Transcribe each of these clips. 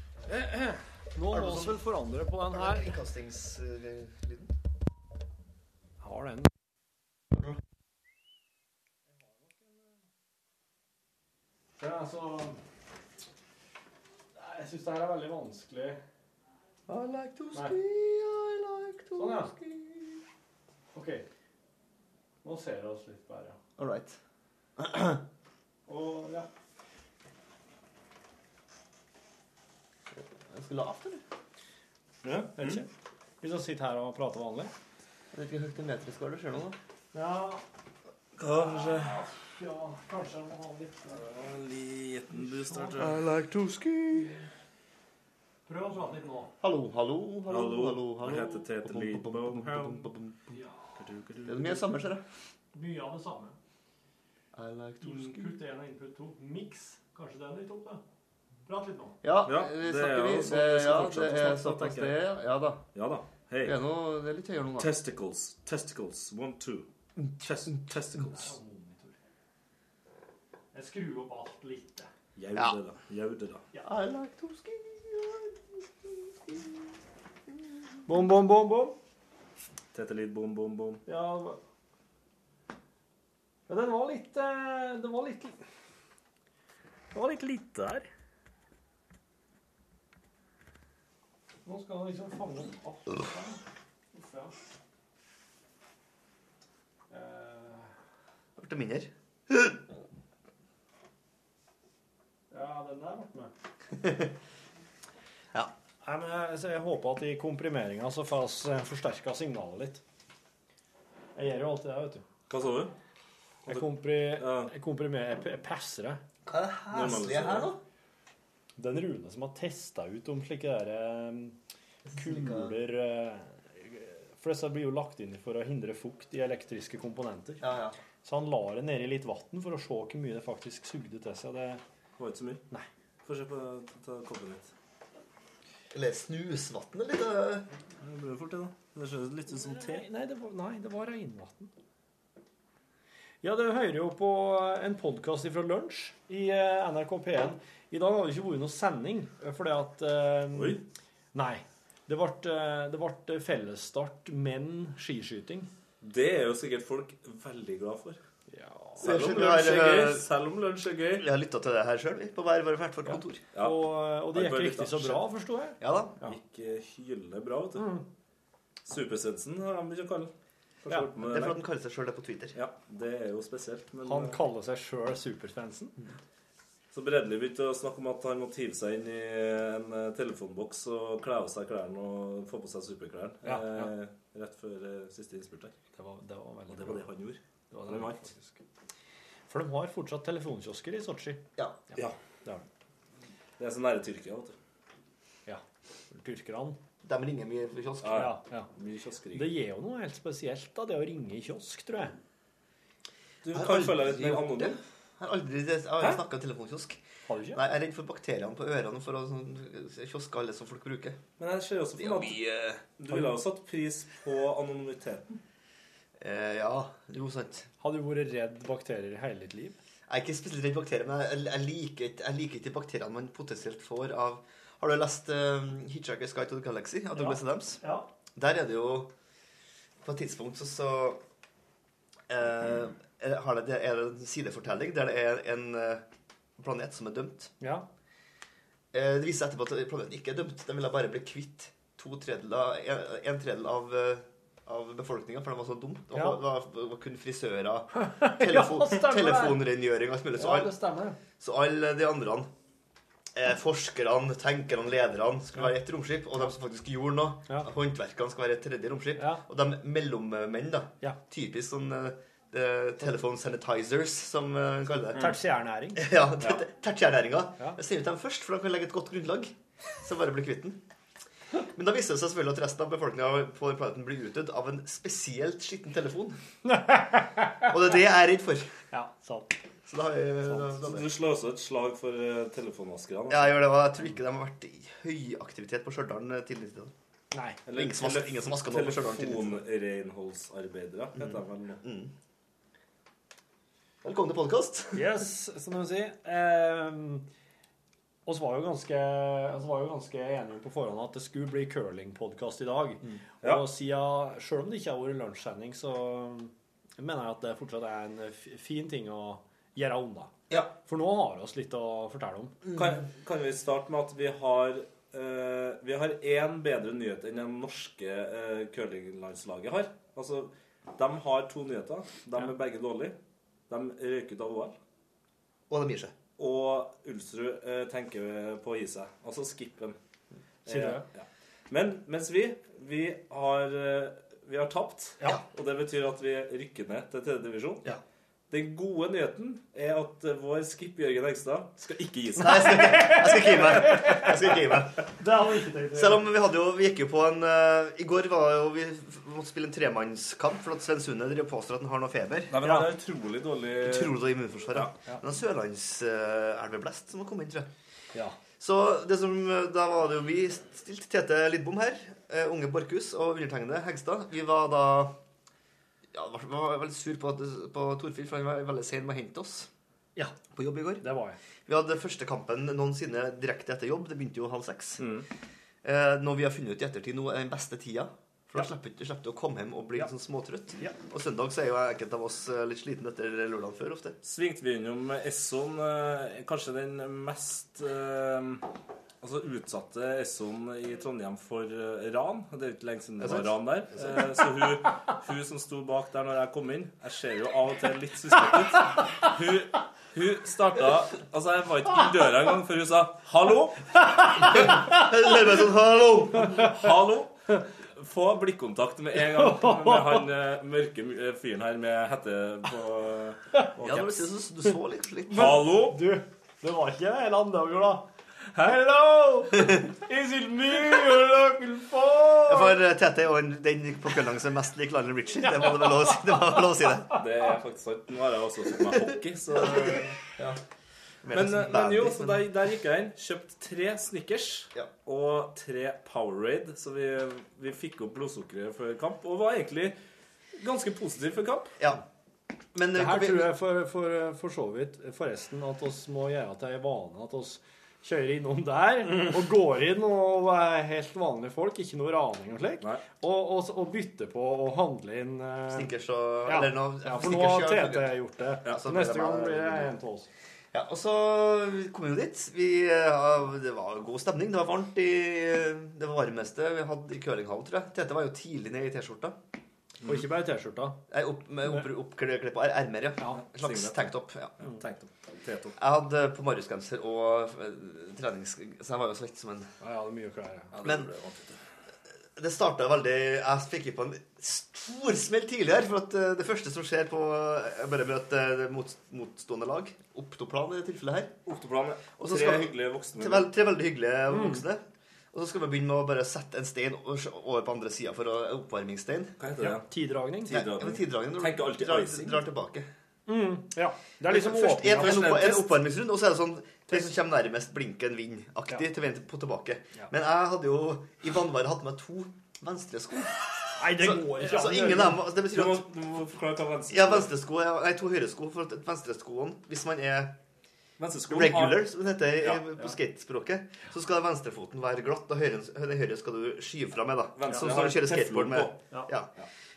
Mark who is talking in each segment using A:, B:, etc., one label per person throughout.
A: Nå
B: Er det
A: må
B: noe
A: vi
B: som-
A: vel forandre på den
B: Her
A: her.
B: innkastingslyden.
A: Har den Det er altså Nei, Jeg syns det her er veldig vanskelig.
B: I like to
A: Nei.
B: I like to
A: Sånn, ja.
B: ski.
A: OK. Nå ser det oss litt bedre.
B: All right.
A: Og ja.
B: Ganske lavt, eller?
A: ja vet ikke. Hvis vi sitter her og prater vanlig
B: Jeg vet ikke hvor høyt en metrisk var det sjøl nå. da.
A: Ja,
C: Kanskje
A: ja kanskje jeg må ha litt
C: en liten boost her, tror jeg.
B: I like to ski.
A: Prøv å prate litt nå.
B: Hallo, hallo, hallo,
C: Hallo.
B: hallo. hallo.
C: Jeg heter Tete Lidbom.
A: Ja.
B: Det er mye samme, ser jeg.
A: Mye av det samme.
B: I like to ski.
A: Input 1 og input 2. Miks. Kanskje det er litt opp, da. Prat litt nå.
B: Ja,
C: Ja,
B: det
C: det er
B: snakker
C: jo
B: vi. Det,
C: sånn vi skal
B: ja, det
C: fortsette å
B: er
C: snakke,
B: såpass
C: tenker
B: det.
C: jeg.
B: Ja da.
C: Ja da. Hei.
B: Det er, noe, det er litt høyere nå, da.
C: Testicles. Testicles. One, two. Test testicles.
A: Jeg har monitor. Jeg skrur opp alt litt. jeg.
B: Ja.
C: Jaude, da. Jaude, da.
B: I like to ski.
A: Bom, bom, bom, bom.
C: Tete Lidbom, bom, bom.
A: Ja, det var- ja den var litt eh, Det var litt Det var litt lite her. Nå skal han liksom fange opp alt. her. Uff, ja. Eh,
B: Ble det mindre?
A: Ja, den der ble med.
B: Ja.
A: Nei, men jeg, så jeg håper at i komprimeringa så får oss eh, forsterka signalet litt. Jeg gjør jo alltid det, vet du.
C: Hva sa du?
A: Jeg, kompri,
C: Ja.
A: jeg komprimerer Jeg, jeg presser det.
B: Hva er det heslige her nå?
A: Den Rune som har testa ut om slike der em, kuler eh, For disse blir jo lagt inn for å hindre fukt i elektriske komponenter.
B: Ja, ja.
A: Så han la det nedi litt vann for å se hvor mye det faktisk sugde til seg. Det,
C: Det var ikke så mye.
A: Nei.
C: Få se på ta koppen litt.
B: Eller snusvann, eller litt
C: Det blir jo fort, det, da. Det ser litt ut som te.
A: nei, nei, det var, nei, det var regnvann. Ja, dere hører jo på en podkast fra Lunsj i eh, NRK P1. I dag har det ikke vært noen sending, eh, fordi at em,
C: Oi.
A: Nei. Det ble, eh, det ble fellesstart, men skiskyting.
C: Det er jo sikkert folk veldig glad for.
A: Ja.
C: Selv om
B: Kanskje det
C: lunsj er
B: er,
C: gøy.
B: eh,
C: Selv om lunsj er gøy.
B: Vi har lytta til det her sjøl, vi. På hver vår hvert vårt kontor.
C: Ja.
A: Og, eh, og det
C: Nei,
A: gikk
C: bare
A: ikke
C: litt
A: riktig så
C: annet.
A: bra, forsto jeg.
B: Ja da.
A: Ja.
C: Ikke hylende eh, bra, vet du. Supersensen har de ikke kalt
A: Ja,
C: den.
B: Det er fordi han kaller seg sjøl det på Twitter.
C: Ja, det er jo spesielt. Men eh,
A: Han kaller seg sjøl Supersvensen.
C: så Bredli begynte å snakke om at han måtte hive seg inn i en eh, telefonboks og kle av seg klærne og få på seg superklærne
A: Ja,
C: eh, rett før eh, siste innspurt her.
A: Det var, det var
C: Og
A: veldig
C: det
A: bra.
C: var det han gjorde.
A: Det var
C: Han
A: det,
C: vant.
A: faktisk. For de har fortsatt telefonkiosker i Sotsji.
B: Ja.
C: Ja.
A: Det har de.
C: Det er så nære Tyrkia, vet du.
A: Ja. Tyrkerne.
B: De ringer mye for kiosk.
C: Ja,
A: Ja,
C: ja.
A: ja.
C: Mye kioskeri.
A: Det gir jo noe helt spesielt, da, det å ringe i kiosk, tror jeg.
C: Du
B: Jeg har
C: kan føle deg
B: aldri
C: litt mer
B: gjort det.
C: anonym.
B: Jeg har aldri jeg har snakka telefonkiosk.
A: Har du ikke?
B: Nei, jeg er redd for bakteriene på ørene og for å sånn, kioske alle som folk bruker. eh,
C: Men jeg ser også
B: Det er jo
C: for meg
B: mye
C: at du ville ha satt pris på anonymiteten.
B: eh, Ja, jo, sant.
A: Har du vært redd bakterier i hele ditt liv?
B: Jeg er ikke spesielt redd bakterier, men jeg, jeg, liker, ikke- jeg liker ikke de bakteriene man potensielt får av Har du lest eh, 'Hitchhiker's Guide to the Galaxy' av Douglas Adams?
A: Ja.
B: Der er det jo På et tidspunkt så, så eh, er- har det, det er det en sidefortelling der det er en eh, planet som er dømt.
A: ja.
B: Eh, det viser seg etterpå at planeten ikke er dømt. Den ville bare bli kvitt to tredjedeler, en, en tredjedel av, eh, av befolkninga, for den var så dum. Det var,
A: Ja.
B: det var, det var kun frisører, telefon,
A: stemmer det.
B: telefonrengjøring og alt mulig. Så alle
A: det stemmer. det.
B: så alle de andre eh, forskerne, tenkerne, lederne skulle være ett romskip. Og de som faktisk gjorde noe,
A: Ja.
B: håndverkerne, skal være et tredje romskip.
A: Ja.
B: Og de mellommenn, da.
A: Ja.
B: Typisk sånn eh, eh, telephone sanitizers, som eh, man kaller
C: Mm.
B: det.
A: Tertiærnæring.
B: Ja, ter- Tertiærnæringa.
A: Ja.
B: Jeg sier ut dem først, for de kan legge et godt grunnlag. Så bare bli kvitt den. Men da viser det seg selvfølgelig at resten av befolkninga på den planeten blir utdødd av en spesielt skitten telefon. Og det er det jeg er redd for.
A: Ja, sant.
B: Så da har vi da, da,
C: Så du slår også et slag for eh, telefonvaskerne. da.
B: Ja, jeg gjør det. og Jeg tror ikke de har vært i høy aktivitet på Stjørdal eh, tidligere. i tiden.
A: Nei.
C: Eller
B: Ingen som vasker- ingen som vasker nå på Stjørdal tidligere.
C: Telefonrenholdsarbeidere heter de vel nå.
B: Velkommen til podkast.
A: Yes, som de sier. Eh, oss var jo ganske, oss var jo ganske enige om på forhånd at det skulle bli curlingpodkast i dag.
C: Ja.
A: Og siden, selv om det ikke har vært lunsjsending, så mener jeg at det fortsatt er en f- fin ting å gjøre unna.
B: Ja.
A: For nå har vi oss litt å fortelle om.
B: Mm.
C: Kan, kan vi starte med at vi har eh, Vi har én bedre nyhet enn det norske eh, curlinglandslaget har. Altså, de har to nyheter. De
A: Ja.
C: er begge dårlige. De røyker ut av OL.
B: Og de gir seg.
C: Og Ulsrud eh, tenker på å gi seg. Altså skippen.
A: Sier du
C: Eh,
A: det?
C: ja. Men mens vi Vi har, eh, vi har tapt.
B: Ja.
C: Og det betyr at vi rykker ned til tredjedivisjon.
B: Ja.
C: Den gode nyheten er at eh, vår skip Jørgen Hegstad skal ikke gi seg.
B: Nei, jeg skal ikke, jeg skal ikke gi meg. Jeg skal ikke gi meg.
A: Det hadde vi ikke tenkt
B: Selv om vi hadde jo, vi gikk jo på en eh, I går var jo, vi f- måtte spille en tremannskamp for at Sven Sunde driver og påstår at han har noe feber.
C: Nei, men
A: Ja.
C: han er utrolig dårlig
B: Utrolig dårlig immunforsvar. Ja.
A: Eh, Ja.
B: Men det er Sørlandselveblest som har kommet inn, tror jeg.
A: Ja.
B: Så det som, eh, da var det jo vi stilte Tete Lidbom her, eh, unge Borchhus og undertegnede Hegstad. Vi var da ja, var, var veldig sur på, at- på Torfinn, for han var veldig sein med å hente oss
A: ja,
B: på jobb i går.
A: det var jeg.
B: Vi hadde første kampen noensinne direkte etter jobb. Det begynte jo halv seks.
C: Mm.
B: Eh, noe vi har funnet ut i ettertid nå, er den beste tida. For da slipper du slipper du å komme hjem og bli
A: Ja.
B: litt sånn småtrøtt.
A: Ja.
B: Og søndag så er jo enkelte av oss eh, litt sliten etter lørdagen før ofte.
C: Svingte vi innom Esson, eh, kanskje den mest eh, altså utsatte Esson i Trondheim for eh, ran. Det er jo ikke lenge siden det
B: Er
C: var
B: det
C: ran der. Eh, så hun, hun som sto bak der når jeg kom inn Jeg ser jo av og til litt suspekt ut. Hun, hun starta Altså, jeg var ikke i døra engang før hun sa 'hallo'.
B: Jeg ler meg sånn, hallo!
C: Hallo! Få blikkontakt med en gang med han eh, mørke eh, fyren her med hette på og
B: Ja, du,
C: caps.
B: så, du så litt slitt.
C: Hallo!
A: Du, det var ikke det hele andre dager, da. Hello! Is it me you're looking for?
B: For eh, Tete er jo en- den på køllen som er mest lik Lionel Richie. Det må det vel lov å si. Det. Må vel lov å si det.
C: Det er faktisk sant. Nå har jeg også sett meg hockey, så ja.
B: Mer
C: men,
B: sånn
C: men jo,
B: bandy,
C: så
B: men-
C: der, der gikk jeg inn. Kjøpte tre Snickers
B: Ja.
C: og tre Powerade. Så vi, vi fikk opp blodsukkeret før kamp, og var egentlig ganske positiv for kamp.
B: Ja. Men
A: Det
B: eh,
A: her
B: vi-
A: tror jeg for, for, for så vidt forresten at oss må gjøre at det er vane at oss kjører innom der og går inn og er helt vanlige folk, ikke noe raning og slik,
C: Nei.
A: og, og, og bytter på og handler inn eh,
B: Snickers og
A: ja.
B: Eller noe.
A: ja, for nå har TT gjort det.
C: Ja,
B: så
A: Neste
B: blir det
A: gang
B: bare-
A: blir det en av oss.
B: Ja, og så kom vi jo dit. Vi, eh, det var god stemning. Det var varmt i eh, Det var varmeste vi hadde i curlinghallen, tror jeg. Tete var jo tidlig nede i T-skjorta.
A: Og ikke bare T-skjorta.
B: Nei, opp, med opp, oppklippa er- ermer, ja.
A: Ja,
B: En slags
C: singlet.
B: tanktop. ja.
C: Ja, tenkte om. T2.
B: Jeg hadde på mariusgenser og eh, trenings... Så jeg var jo svett som en
A: Ja, ja, det er mye klær. Ja.
C: Ja, det
B: Men-
C: ble vanskelig.
B: Det starta veldig Jeg fikk i på en storsmell tidligere, for at eh, det første som skjer på Jeg bare møter eh, det mot, motstående lag. Optoplan i det tilfellet her.
C: Oktoplanet.
B: Og så
C: Tre
B: skal-
C: hyggelige voksne.
B: Tre, vel, tre veldig hyggelige voksne. Og så skal vi begynne med å bare sette en stein over over på andre sida for å en oppvarmingsstein.
C: Hva heter det?
A: Tiddragning.
B: Nei,
C: Tiddragning.
B: men Tiddragning. når du
C: Tenker alltid
B: drar,
C: icing.
B: drar tilbake.
A: Mm, ja. Det er liksom
B: Først en,
A: åpninga.
B: en, opp, en
C: Test.
B: oppvarmingsrunde, og så er det sånn Den som kommer nærmest, blinker en vind-aktig til vent på tilbake.
A: Ja.
B: Men jeg hadde jo i vanværet hatt med to venstresko.
A: Nei, det
B: Så,
A: går ikke an.
B: så ingen av dem altså, Det
C: Du
B: betyr
C: må,
B: at
C: du må forklare hva venstre
B: ja, venstresko er- Nei, to høyresko. For at venstreskoene Hvis man er
C: Venstreskoen
B: regular, som det heter i-
C: Ja, ja.
B: på skatespråket, så skal venstrefoten være glatt, og høyre, den høyre skal du skyve fra med, da.
C: Venstre
B: Som
C: har
B: når du kjører
C: teflon
B: skateboard med.
C: på.
A: Ja.
B: Ja.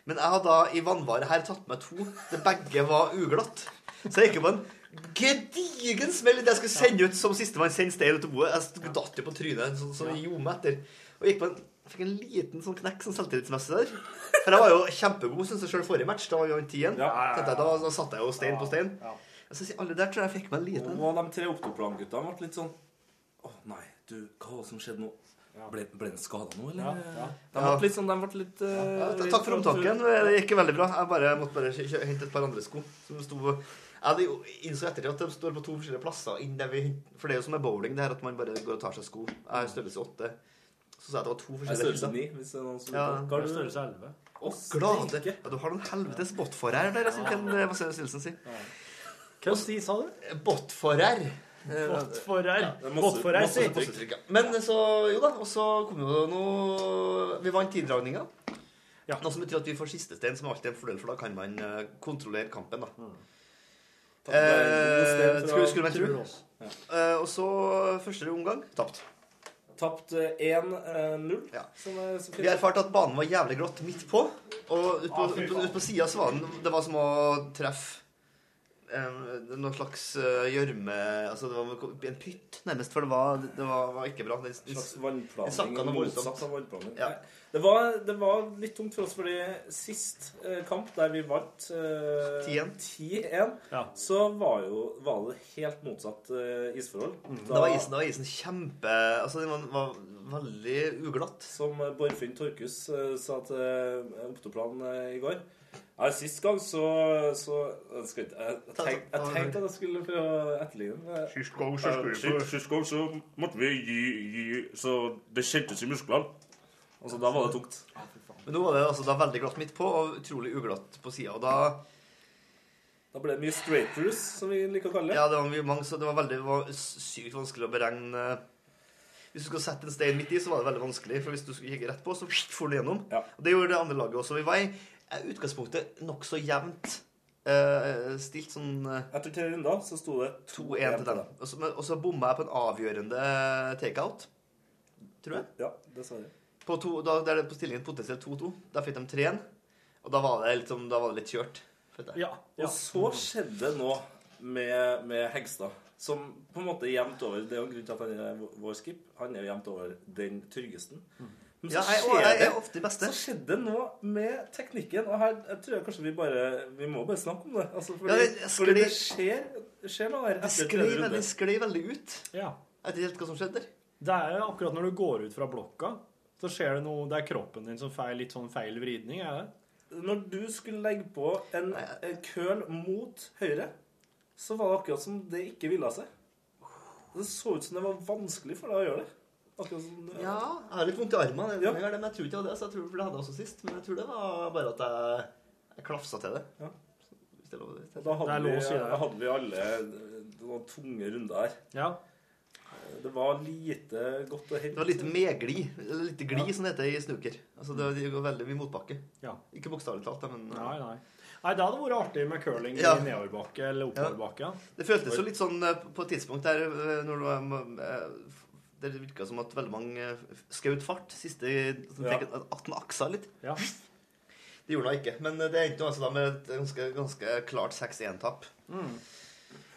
B: Men jeg har da i vannvare her tatt med to, der begge var uglatt. Så jeg gikk jo på en gedigen smell idet jeg skulle sende ut som sistemann sendt stein ut til boet. Jeg st- datt jo på trynet sånn som jeg gjorde meg etter. Og gikk på en Fikk en liten sånn knekk sånn selvtillitsmessig der. For jeg var jo kjempegod, syns jeg sjøl, forrige match. Da var vi vant 10-1.
A: ja,
C: Ja,
A: ja.
B: Tenkte jeg, Da, da satte jeg jo stein på stein.
A: Ja.
B: Og så sier alle der tror jeg fikk meg en liten
C: Og de tre Oktoplan-gutta ble litt sånn Å nei, du, hva var det som skjedde nå? Ble, ble den skada nå, eller?
A: Ja, ja.
C: De ble
B: Ja.
C: litt sånn, de ble litt eh,
B: Ja, ta- Takk for omtanken. Det gikk veldig bra. Jeg bare, måtte bare kjø- kjø- hente et par andre sko. Som sto Jeg hadde jo innså ettertid at de står på to forskjellige plasser. Inn der vi, for det er jo som med bowling, det her at man bare går og tar seg sko. Jeg har størrelse åtte. Så sa jeg at det var to
C: Jeg er
B: forskjellige
C: størrelse ni, hvis det er noen som
B: Ja.
C: Hva er du størrelse?
A: Størrelse 11.
C: Å,
B: Glade.
C: steike.
B: Ja, du har noen helvetes båtfører der, som kan eh, hva sier Stilsen si.
A: Hvem si, sa du?
B: Båtfører. Eh,
A: Båtfører.
C: det er masse-
A: Båtfører,
C: masse-
A: si.
B: Båttrykk, ja. Men eh, så, jo da, og så kom jo noe Vi vant tiddragninga.
A: Ja.
B: Noe som betyr at vi får siste stein, som alltid er en fordel, for da kan man eh, kontrollere kampen. da Eh,
C: Tapt
B: skulle,
C: 1-0
B: skulle man tro.
D: Tror oss.
B: Eh, og så første omgang tapt.
C: eh,
B: Ja.
C: som er så
B: Vi
C: fint.
B: erfarte at banen var jævlig glatt midt på, og ut på,
A: Ah, fy
B: ut på,
A: faen.
B: ut på sida så var den Det var som å treffe eh, noen slags eh, gjørme Altså det var en pytt, nærmest, for det var, det var, var ikke bra. Den,
C: En
B: den,
C: slags vannplaning.
B: Jeg snakket om voldsomt.
C: motsatt av vannplaning.
B: Ja.
C: Nei, Det, var, det var litt tungt for oss, fordi sist eh, kamp, der vi vant eh,
B: 10-1.
C: 10-1,
A: Ja.
C: så var, jo, var det helt motsatt eh, isforhold.
B: da var isen, da var isen kjempe Altså den var, var veldig uglatt.
C: Som eh, Borfinn Torkus eh, sa til eh, Opptoplan eh, i går ja, Sist gang så, så jeg, skal ikke, jeg, jeg, tenk, jeg tenkte at jeg skulle prøve å etterligne eh,
B: Sist gang
C: Sist gang så måtte vi gi, Så det kjentes i musklene. Altså, da var det tungt.
B: Men nå var det altså da veldig glatt midt på og utrolig uglatt på sida. Og da
C: Da ble det mye straight throughs, som vi liker å kalle det.
B: Ja, det var mye mange, så det var veldig det var sykt vanskelig å beregne Hvis du skulle sette en stein midt i, så var det veldig vanskelig. For hvis du skulle kikke rett på, så for du gjennom.
C: Ja.
B: Og det gjorde det andre laget også. Vi var i eh, utgangspunktet nokså jevnt eh, stilt, sånn eh,
C: Etter tre runder så sto det
B: 2-1 til dem. Og så, men- og så bomma jeg på en avgjørende takeout, tror jeg.
C: Ja, dessverre.
B: På to, da, der det på stillingen potensielt 2-2. Da fikk de 3-1. Og da var det, liksom, da var det litt kjørt. følte jeg.
A: Ja.
C: Og så skjedde det nå med, med Hegstad, som på en måte er jevnt over Det er jo grunnen til at han er vår- vår skip. Han er jevnt over den tryggesten. Men så
B: Mm. Ja, jeg, og
C: skjer
B: jeg
C: det-
B: er ofte beste.
C: så skjedde det nå med teknikken, og her jeg tror jeg kanskje vi bare Vi må bare snakke om det. Altså, fordi,
B: Ja, det-
C: fordi det
B: skli-
C: skjer, skjer noe her
B: Det
C: etter
B: sklei
C: tredje runde.
B: veldig, sklei veldig ut.
A: ja.
B: Jeg vet ikke helt hva som skjedde der.
A: Det er jo akkurat når du går ut fra blokka, så skjer det noe Det er kroppen din som feil, litt sånn feil vridning, er det?
C: Når du skulle legge på en, en køl mot høyre, så var det akkurat som det ikke ville seg. Det så ut som det var vanskelig for deg å gjøre det. Akkurat som det,
B: Ja, jeg har litt vondt i armen. Det,
C: Ja.
B: kan være det, men jeg tror ikke det var det, så jeg tror for det hadde jeg også sist. Men jeg tror det var bare at jeg, jeg klafsa til det.
C: Ja.
B: Hvis det er lov å si.
C: Og Da hadde,
A: Det er lov å
C: vi,
A: si det.
C: da hadde vi alle noen tunge runder her.
A: Ja.
C: Det var lite godt å
B: Det var
C: hente.
B: litt medgli. Eller litt gli, som det heter i snooker. Altså, det det går veldig mye motbakke.
A: ja.
B: Ikke bokstavelig talt, da, men eh,
A: Nei, nei. Nei, det hadde vært artig med curling
B: Ja.
A: i nedoverbakke eller oppoverbakke.
B: Det føltes jo litt sånn eh, på- på et tidspunkt der eh, når det var eh, f- der det virka som at veldig mange eh, skjøt fart. Siste sånn,
C: Ja.
B: fikk at- At den aksa litt.
A: Ja.
B: Det gjorde den ikke. Men eh, det endte jo altså da med et ganske, ganske klart 6-1-tap.
A: Mm.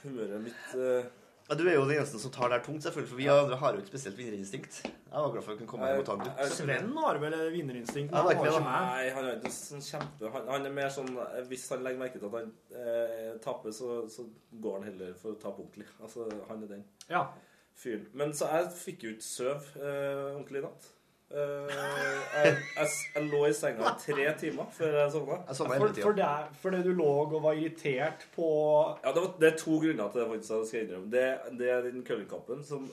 C: Humøret mitt eh,
B: Ja, Du er jo den eneste som tar det her tungt, selvfølgelig, for vi andre har jo ikke spesielt vinnerinstinkt. Jeg var glad for at jeg kunne komme hjem og ta en dutt.
C: jeg-
A: Sven har vel vinnerinstinkt?
B: Ja, det er ikke det, da.
A: meg.
C: Nei, han er ikke sånn kjempe han, han er mer sånn eh, Hvis han legger merke til at han eh, taper, så, så går han heller for å tape ordentlig. Altså, han er den.
A: Ja.
C: fyren. Men så jeg fikk jo ikke søv eh, ordentlig i natt. Eh, jeg, jeg, s- jeg lå i senga i tre timer før jeg sovna.
B: Jeg sovna hele
A: For, for,
B: tida.
A: det, fordi du lå og var irritert på
C: Ja, det, var, det er to grunner til det. faktisk jeg skal innrømme. Det, det er den curlingkampen som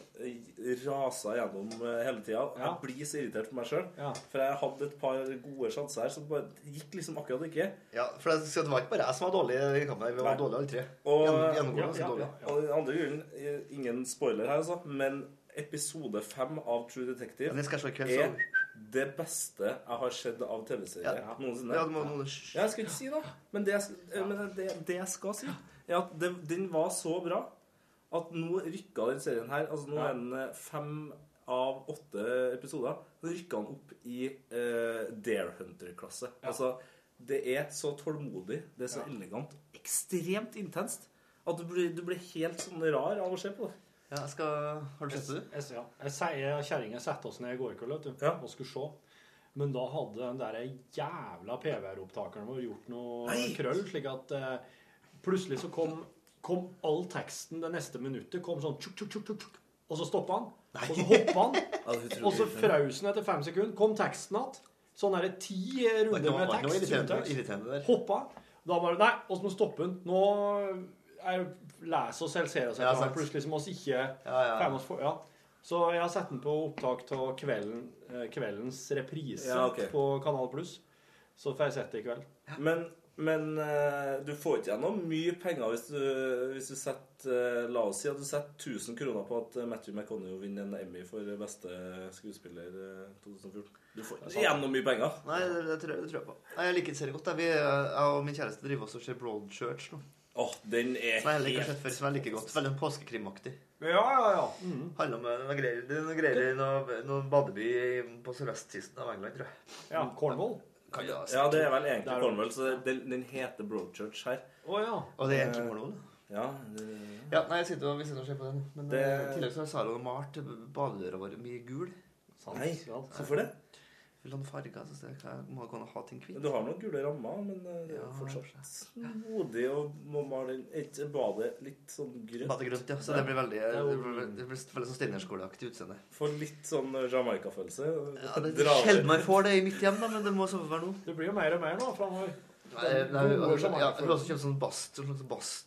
C: rasa gjennom eh, hele tida.
A: Ja.
C: Jeg blir så irritert på meg sjøl.
A: Ja.
C: For jeg hadde et par gode sjanser her som bare gikk liksom akkurat ikke.
B: Ja, for det, så det var ikke bare jeg som var dårlig i kampen. Vi
C: Nei.
B: var dårlige alle tre.
C: Og-
B: Gjennom- Gjennomgående
A: Ja,
B: så
A: ja,
B: dårlig.
A: ja.
C: Og den andre grunnen, eh, ingen spoiler her, altså, men episode fem av True Detective
B: Men det skal jeg slå i kveld,
C: er
B: så
C: det beste jeg har sett av TV-serie
B: Ja.
C: noensinne.
B: Ja, du må, må,
C: Ja, jeg skal ikke si noe, men det jeg, skal- men det, det jeg skal si, er at det, den var så bra at nå rykka den serien her Altså nå
A: Ja.
C: er den eh, fem av åtte episoder. Så rykka den opp i eh, Dare Hunter-klasse. Altså, det er så tålmodig, det er så elegant, ekstremt intenst, at du blir, du blir helt sånn rar av å se på det.
B: ja, jeg skal Har du sett det?
A: Jeg, ja. jeg sier kjerringa satte oss ned i går kveld vet du,
C: Ja.
A: og skulle se. Men da hadde den der jævla PVR-opptakeren vår gjort noe
C: Nei.
A: krøll, slik at eh, plutselig så kom, kom all teksten det neste minuttet. kom sånn tjuk, tjuk, tjuk, tjuk, tjuk, Og så stoppa han. Og så hoppa han. Og så frøs den etter fem sekunder. Kom teksten igjen. Sånn er det ti
B: Det
A: runder
B: var
A: med
B: ikke noe
A: tekst.
B: irriterende,
A: utekst.
B: irriterende der.
A: Hoppa. Da bare Nei, oss må stoppe den. Nå er leser oss eller ser oss
B: Ja, sant.
A: etter hverandre. Plutselig så må oss ikke
B: Ja, ja.
A: femme oss for Ja. Så jeg har sett den på opptak av kvelden, eh, kveldens reprise
C: Ja, ok.
A: på Kanal Pluss. Så får jeg sett det i kveld.
C: Men, men eh, du får ikke gjennom mye penger hvis du, hvis du setter eh, La oss si at du setter 1000 kroner på at eh, Matthew McConney vinner en Emmy for beste skuespiller eh, 2014. Du får ikke gjennom mye penger.
B: eh, Nei, det, det, tror jeg, det tror jeg på. Nei, Jeg liker serien godt. Jeg, vi, jeg og min kjæreste driver også og ser Broadchurch nå.
C: Åh, den er
B: Som jeg heller ikke har sett før, som jeg liker godt. Veldig sånn påskekrimaktig.
A: Ja, ja, ja.
B: Handler om eh, noen greier, det er noen greier i noen, noen badeby på sørvestkysten av England, tror jeg.
A: ja. Cornwall?
B: Kan det, altså.
C: Ja, det er vel egentlig
A: Der.
C: Cornwell, så den, den heter Broadchurch her.
A: Å ja.
B: Og det er egentlig Cornwall. da.
C: Ja, det,
B: Ja, nei, jeg sitter og viser og ser på den. Men
C: Det-
B: eh, i tillegg så har Saron malt badedøra vår mye gul.
A: Sant.
C: Nei,
A: Ja.
C: hvorfor det?
B: Vil han farger, så jeg kan- må kunne ha ting kvitt.
C: Du har noen gule rammer, men eh, det er
B: Ja,
C: jo fortsatt modig å må male den et badet litt sånn grønt.
B: Badegrønt, ja. Så det blir veldig
A: er jo-
B: det blir, det blir veldig sånn steinerskoleaktig utseende.
C: Få litt sånn Jamaica-følelse.
B: Ja, det
C: Dra over.
B: Sjelden man får det i mitt hjem, da, men det må så være noe.
A: Det blir jo mer og mer nå framover.
B: Nei, nei, ja,
A: Gode
B: jeg
A: Jamaica-følelse.
B: vil også kjøpe sånn bast, sånn slags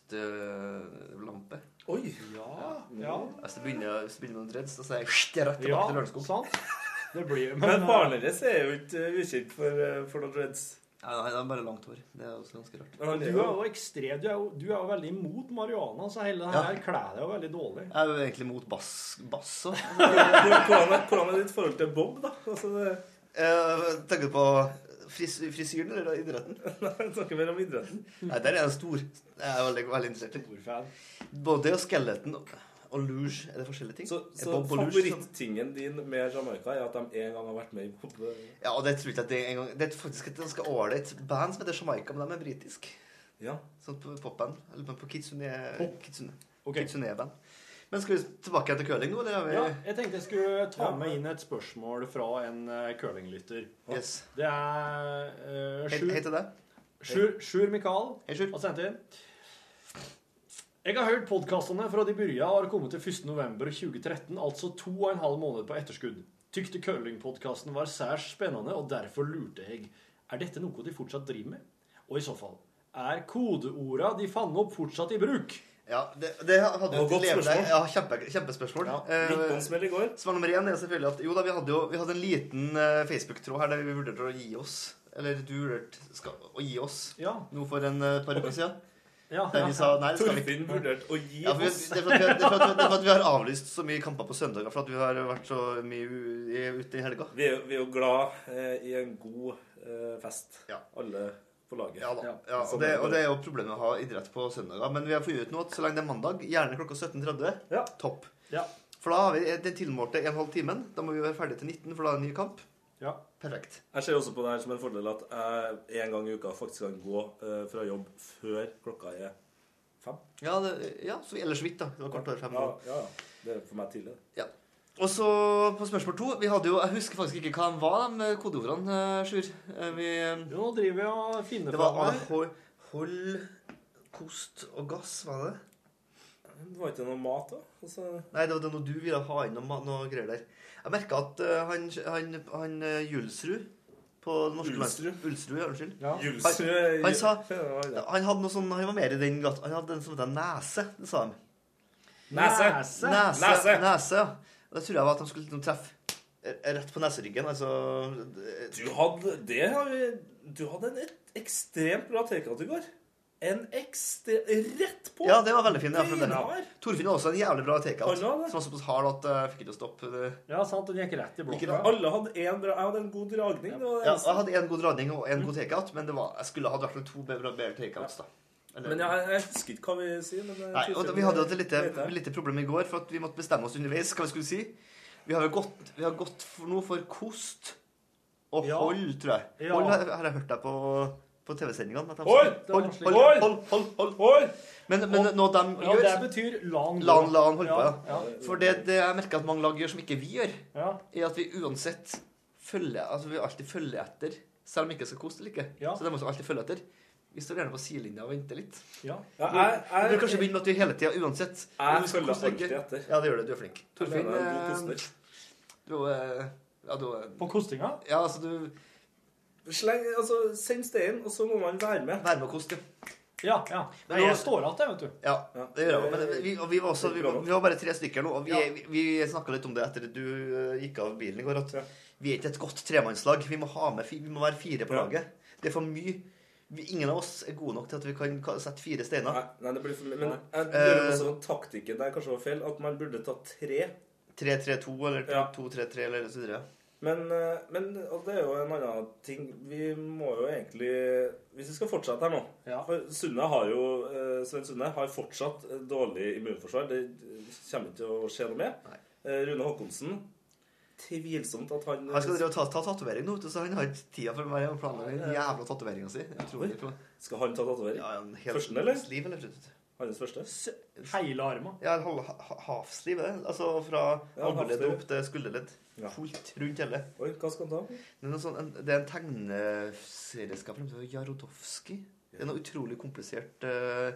B: bastlampe.
C: Oi!
A: Ja, ja.
B: Hvis det begynner, hvis det begynner med noen dreads, da sier jeg «Sht, jeg er rett tilbake
A: ja
B: til Lørenskog.
A: sant. Det blir
C: Men
A: eh,
C: faren deres er jo ikke eh, ukjent for, eh, for noen dreads.
B: Ja, nei, det er bare langt hår. Det er også ganske rart.
A: eh,
C: Han
A: Du
C: er
A: er
C: jo
A: jo ekstrem. Du er jo, du er jo veldig imot marihuana, så hele det her kler deg jo veldig dårlig.
B: Jeg er jo egentlig mot bass, bass også.
C: Hvordan er, hvordan er ditt forhold til Bob, da? Altså, det,
B: Eh, tenker du på fris, frisyren eller idretten?
C: jeg snakker mer om idretten.
B: Nei, der er jeg stor. Jeg er veldig, veldig interessert.
A: Storfan.
B: i. Både det og skeletten og, og luge, er det forskjellige ting?
C: Så,
B: Er
C: så
B: Bob og luge sånn?
C: favorittingen din med Jamaica er at de en gang har vært med i Bob?
B: Ja, og det tror jeg ikke at det er en gang. Det er faktisk et ganske ålreit band som heter Jamaica, men de er britiske.
C: Ja.
B: Sånn på popband. Eller på- på Kitsune, Kitsune,
A: Ok.
B: Kitsune-band. Men skal vi tilbake igjen til curling nå? Det har vi.
A: Ja, jeg tenkte jeg skulle ta med inn et spørsmål fra en eh, curlinglytter.
B: Yes.
A: Det er eh,
B: Hei,
A: Sjur-
B: hei til deg.
A: Sjur, Sjur Mikael
B: Hei, Sjur.
A: har sendt inn. Jeg har hørt podkastene fra de begynte og har kommet til 1.11.2013, altså to og en halv måned på etterskudd. Tykte curlingpodkasten var særs spennende, og derfor lurte jeg. Er dette noe de fortsatt driver med? Og i så fall, er kodeorda de fant opp, fortsatt i bruk?
B: Ja, det, det hadde
C: Det var
B: jo
C: godt
B: levd
C: spørsmål.
B: deg. Ja, kjempe, kjempespørsmål.
A: Ja,
C: Gikk på
B: Eh,
C: en smell i går.
B: Svar nummer én er selvfølgelig at jo da, vi hadde jo vi hadde en liten eh, Facebook-tråd her der vi vurderte å gi oss. Eller du vurderte skal- å gi oss
A: Ja.
B: nå for en eh, par uker siden.
A: ja,
B: Der vi sa nei, det skal vi ikke.
C: Torfinn vurderte å gi
B: Ja, for vi,
C: oss
B: det, er for at vi, har- det, er for at, det er for at vi har avlyst så mye kamper på søndager for at vi har vært så mye u- i- ute i helga.
C: Vi er, jo- vi er jo glad eh, i en god eh, fest,
B: Ja.
C: alle på laget.
B: Ja da.
A: Ja.
B: Ja, og, det, og det er jo problemet med å ha idrett på søndager. Men vi har funnet ut nå at så lenge det er mandag, gjerne klokka 17.30,
C: Ja.
B: topp.
A: Ja.
B: For da har vi den tilmålte en halv timen. Da må vi være ferdig til 19, for da er det en ny kamp.
A: Ja.
B: Perfekt.
C: Jeg ser også på det her som en fordel at jeg en gang i uka faktisk kan gå eh, fra jobb før klokka er fem.
B: Ja, det, ja så vi ellers vidt, da. Det var kvart over fem.
C: Ja,
B: nå.
C: ja, ja. Det er for meg tidlig. det.
B: Ja. Og så på spørsmål to vi hadde jo, Jeg husker faktisk ikke hva de var, de kodeordene, eh, Sjur. Eh, Vi, eh,
A: Jo, nå driver jeg og finner
B: det var
A: fram her.
B: hold, hold, kost og gass, var det?
C: Det var ikke noe mat, da. Altså,
B: Nei, det var det noe du ville ha inn noe, ma- noe greier der. Jeg merka at eh, han, han, han eh, Julsrud på det norske
C: Ulsrud?
B: lands- Ulsrud, ja, unnskyld.
A: Ja.
C: Julsrud
B: han sa-
C: eh, Ja, det var det.
B: Han hadde noe sånn, han var mer i den gata. Han hadde en som het nese, det sa de.
C: Nese!
A: Nese.
B: Nese, nese,
C: Nese.
B: ja. Og det tror jeg var at de skulle liksom treffe eh, rett på neseryggen. Altså eh,
C: Du hadde, det har vi, du hadde en et ekstremt bra takeout i går. En ekstre... Rett på!
B: Ja, det var veldig fin. Ja, for den.
C: Beinhard.
B: Torfinn hadde også en jævlig bra takeout.
C: Han hadde det.
B: Som var såpass hard at eh, jeg fikk ikke til å stoppe. Det.
A: Ja, sant. Den gikk rett i
B: Gikk
A: blokka.
B: rett-
C: Alle hadde en bra Jeg hadde en god dragning. Det var det
B: Ja,
C: eneste.
B: jeg hadde en god dradning og en god takeout, men det var, jeg skulle hatt i hvert fall to bedre bedre takeouts. da. Eller-
C: Men jeg, jeg husker ikke hva vi sier. Men eh, det er
B: Nei, og da,
C: tydeligvis-
B: Vi hadde jo et lite,
C: vet jeg.
B: lite problem i går, for at vi måtte bestemme oss underveis hva vi skulle si. Vi har jo gått, vi har gått for noe for kost og
A: Ja.
B: hold, tror jeg.
A: Ja.
B: Hold har, har jeg hørt deg på, på TV-sendingene. at de
C: Hold!
B: sa.
A: Det var
B: Hold,
A: slik.
B: hold,
C: Hold!
B: hold, hold, hold,
C: Oi!
B: Men, men når de
A: Ja,
B: gjør
A: det betyr la han
B: La han- la han holde på,
A: ja.
B: For det, det jeg merker at mange lag gjør som ikke vi gjør,
A: Ja,
B: er at vi uansett følger Altså vi alltid følger etter, selv om vi ikke skal koste eller ikke.
A: Ja.
B: Så de må også alltid følge etter. Vi står gjerne på sidelinja og venter litt.
A: ja.
C: Ja,
B: Vi bør
C: jeg,
B: kanskje begynne med at vi hele tida uansett
C: Jeg
B: om vi skal
C: følger
B: koste eller ikke-
C: alltid etter.
B: Ja, det gjør det. Du er flink.
C: jeg mener
B: Torfinn
C: jeg er en god
B: eh,
C: kunstner.
B: Du eh, Ja, du
A: På kostinga?
B: Ja, altså, du
C: Sleng, altså, Send steinen, og så må man være med.
B: Vær med og kost, ja.
A: Ja. ja.
B: Men
A: Nei,
B: nå-
A: jeg står igjen, jeg, vet du.
B: Ja, det gjør jeg også. Men eh, vi, og vi, var også, vi, var, vi var bare tre stykker nå, og vi,
A: Ja.
B: vi, snakka litt om det etter at du eh, gikk av bilen i går, at
C: Ja.
B: vi er ikke et godt tremannslag. Vi må, ha med, fi- vi må være fire på
C: Ja.
B: laget. Det er for mye. Vi, ingen av oss er gode nok til at vi kan ka- sette fire steiner.
C: Nei, nei, det blir for mye. Men
A: Nei.
C: jeg
B: Eh.
C: lurer sånn også om taktikken der kanskje var feil. At man burde ta tre.
B: 3-3-2 eller
C: Ja.
B: 2-3-3 eller så videre.
C: Men, eh, men og det er jo en annen ting Vi må jo egentlig Hvis vi skal fortsette her nå
A: Ja.
C: For Sunne har jo eh, Sven Sunne har fortsatt eh, dårlig immunforsvar. Det kommer ikke til å skje noe med.
B: Nei.
C: Eh, Rune Håkonsen Tvilsomt at han
B: Han skal drive og ta, ta tatovering nå, vet du, så han har ikke tida for å være og planlegge den jævla tatoveringa si. Utrolig.
C: Skal han ta tatovering?
B: Ja, en hel
C: Førsten, eller?
B: Sleeve, eller? tror jeg.
C: Hans første?
A: Hele armen.
B: Ja, en hal- ha- half-sleeve, det. Altså fra
C: Ja,
B: albueledd
C: half-sleeve.
B: opp til skulderledd.
C: Ja.
B: Fullt rundt hele.
C: Oi, hva skal han ta?
B: Det er, noe sånn, en, det er en tegneserieskaper som heter Jarodowski. Det er noe utrolig komplisert eh,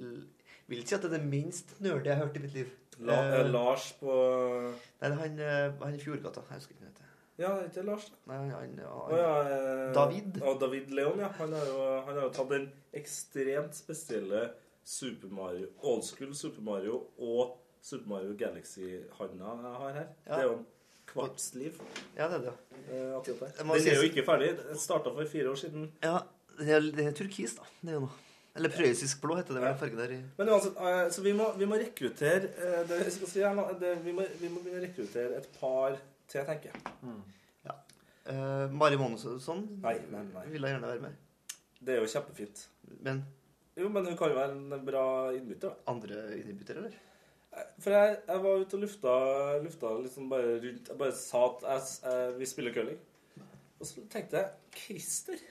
B: l- Vil ikke si at det er det minst nerde jeg har hørt i mitt liv.
C: La,
B: Eh,
C: eh, Lars på
B: Nei, det er han, eh, han i Fjordgata. Jeg husker ikke hva han heter.
C: Ja, det er ikke Lars, da.
B: Nei, han, han,
C: Å, ja, eh,
B: David.
C: Ja, David Leon, ja. Han har jo, han har jo tatt den ekstremt spesielle Super Mario, old school Super Mario og Super Mario Galaxy-handa jeg har her.
B: Ja.
C: Det er jo en kvarts liv.
B: ja, det er det.
C: Eh, akkurat der.
B: Jeg må
C: Den
B: si-
C: er jo ikke ferdig. Den starta for fire år siden.
B: Ja, det er, det er turkis, da. Det er jo noe. Eller prøyssisk blå heter det vel
C: Ja.
B: den fargen der. i-
C: Men uansett, eh, så vi må, vi må rekruttere eh, det, vi skal si her nå, det, vi, må, vi må begynne å rekruttere et par til, tenker jeg.
B: Eh, Mari Monusson
C: Nei, nei, nei.
B: ville gjerne være med.
C: Det er jo kjempefint.
B: Men
C: Jo, men hun kan jo være en bra innbytter, da.
B: andre innbytter, eller?
C: For jeg, jeg var ute og lufta, lufta liksom bare rundt Jeg bare sa at jeg, s- eh, vi spiller curling. Og så tenkte jeg Christer.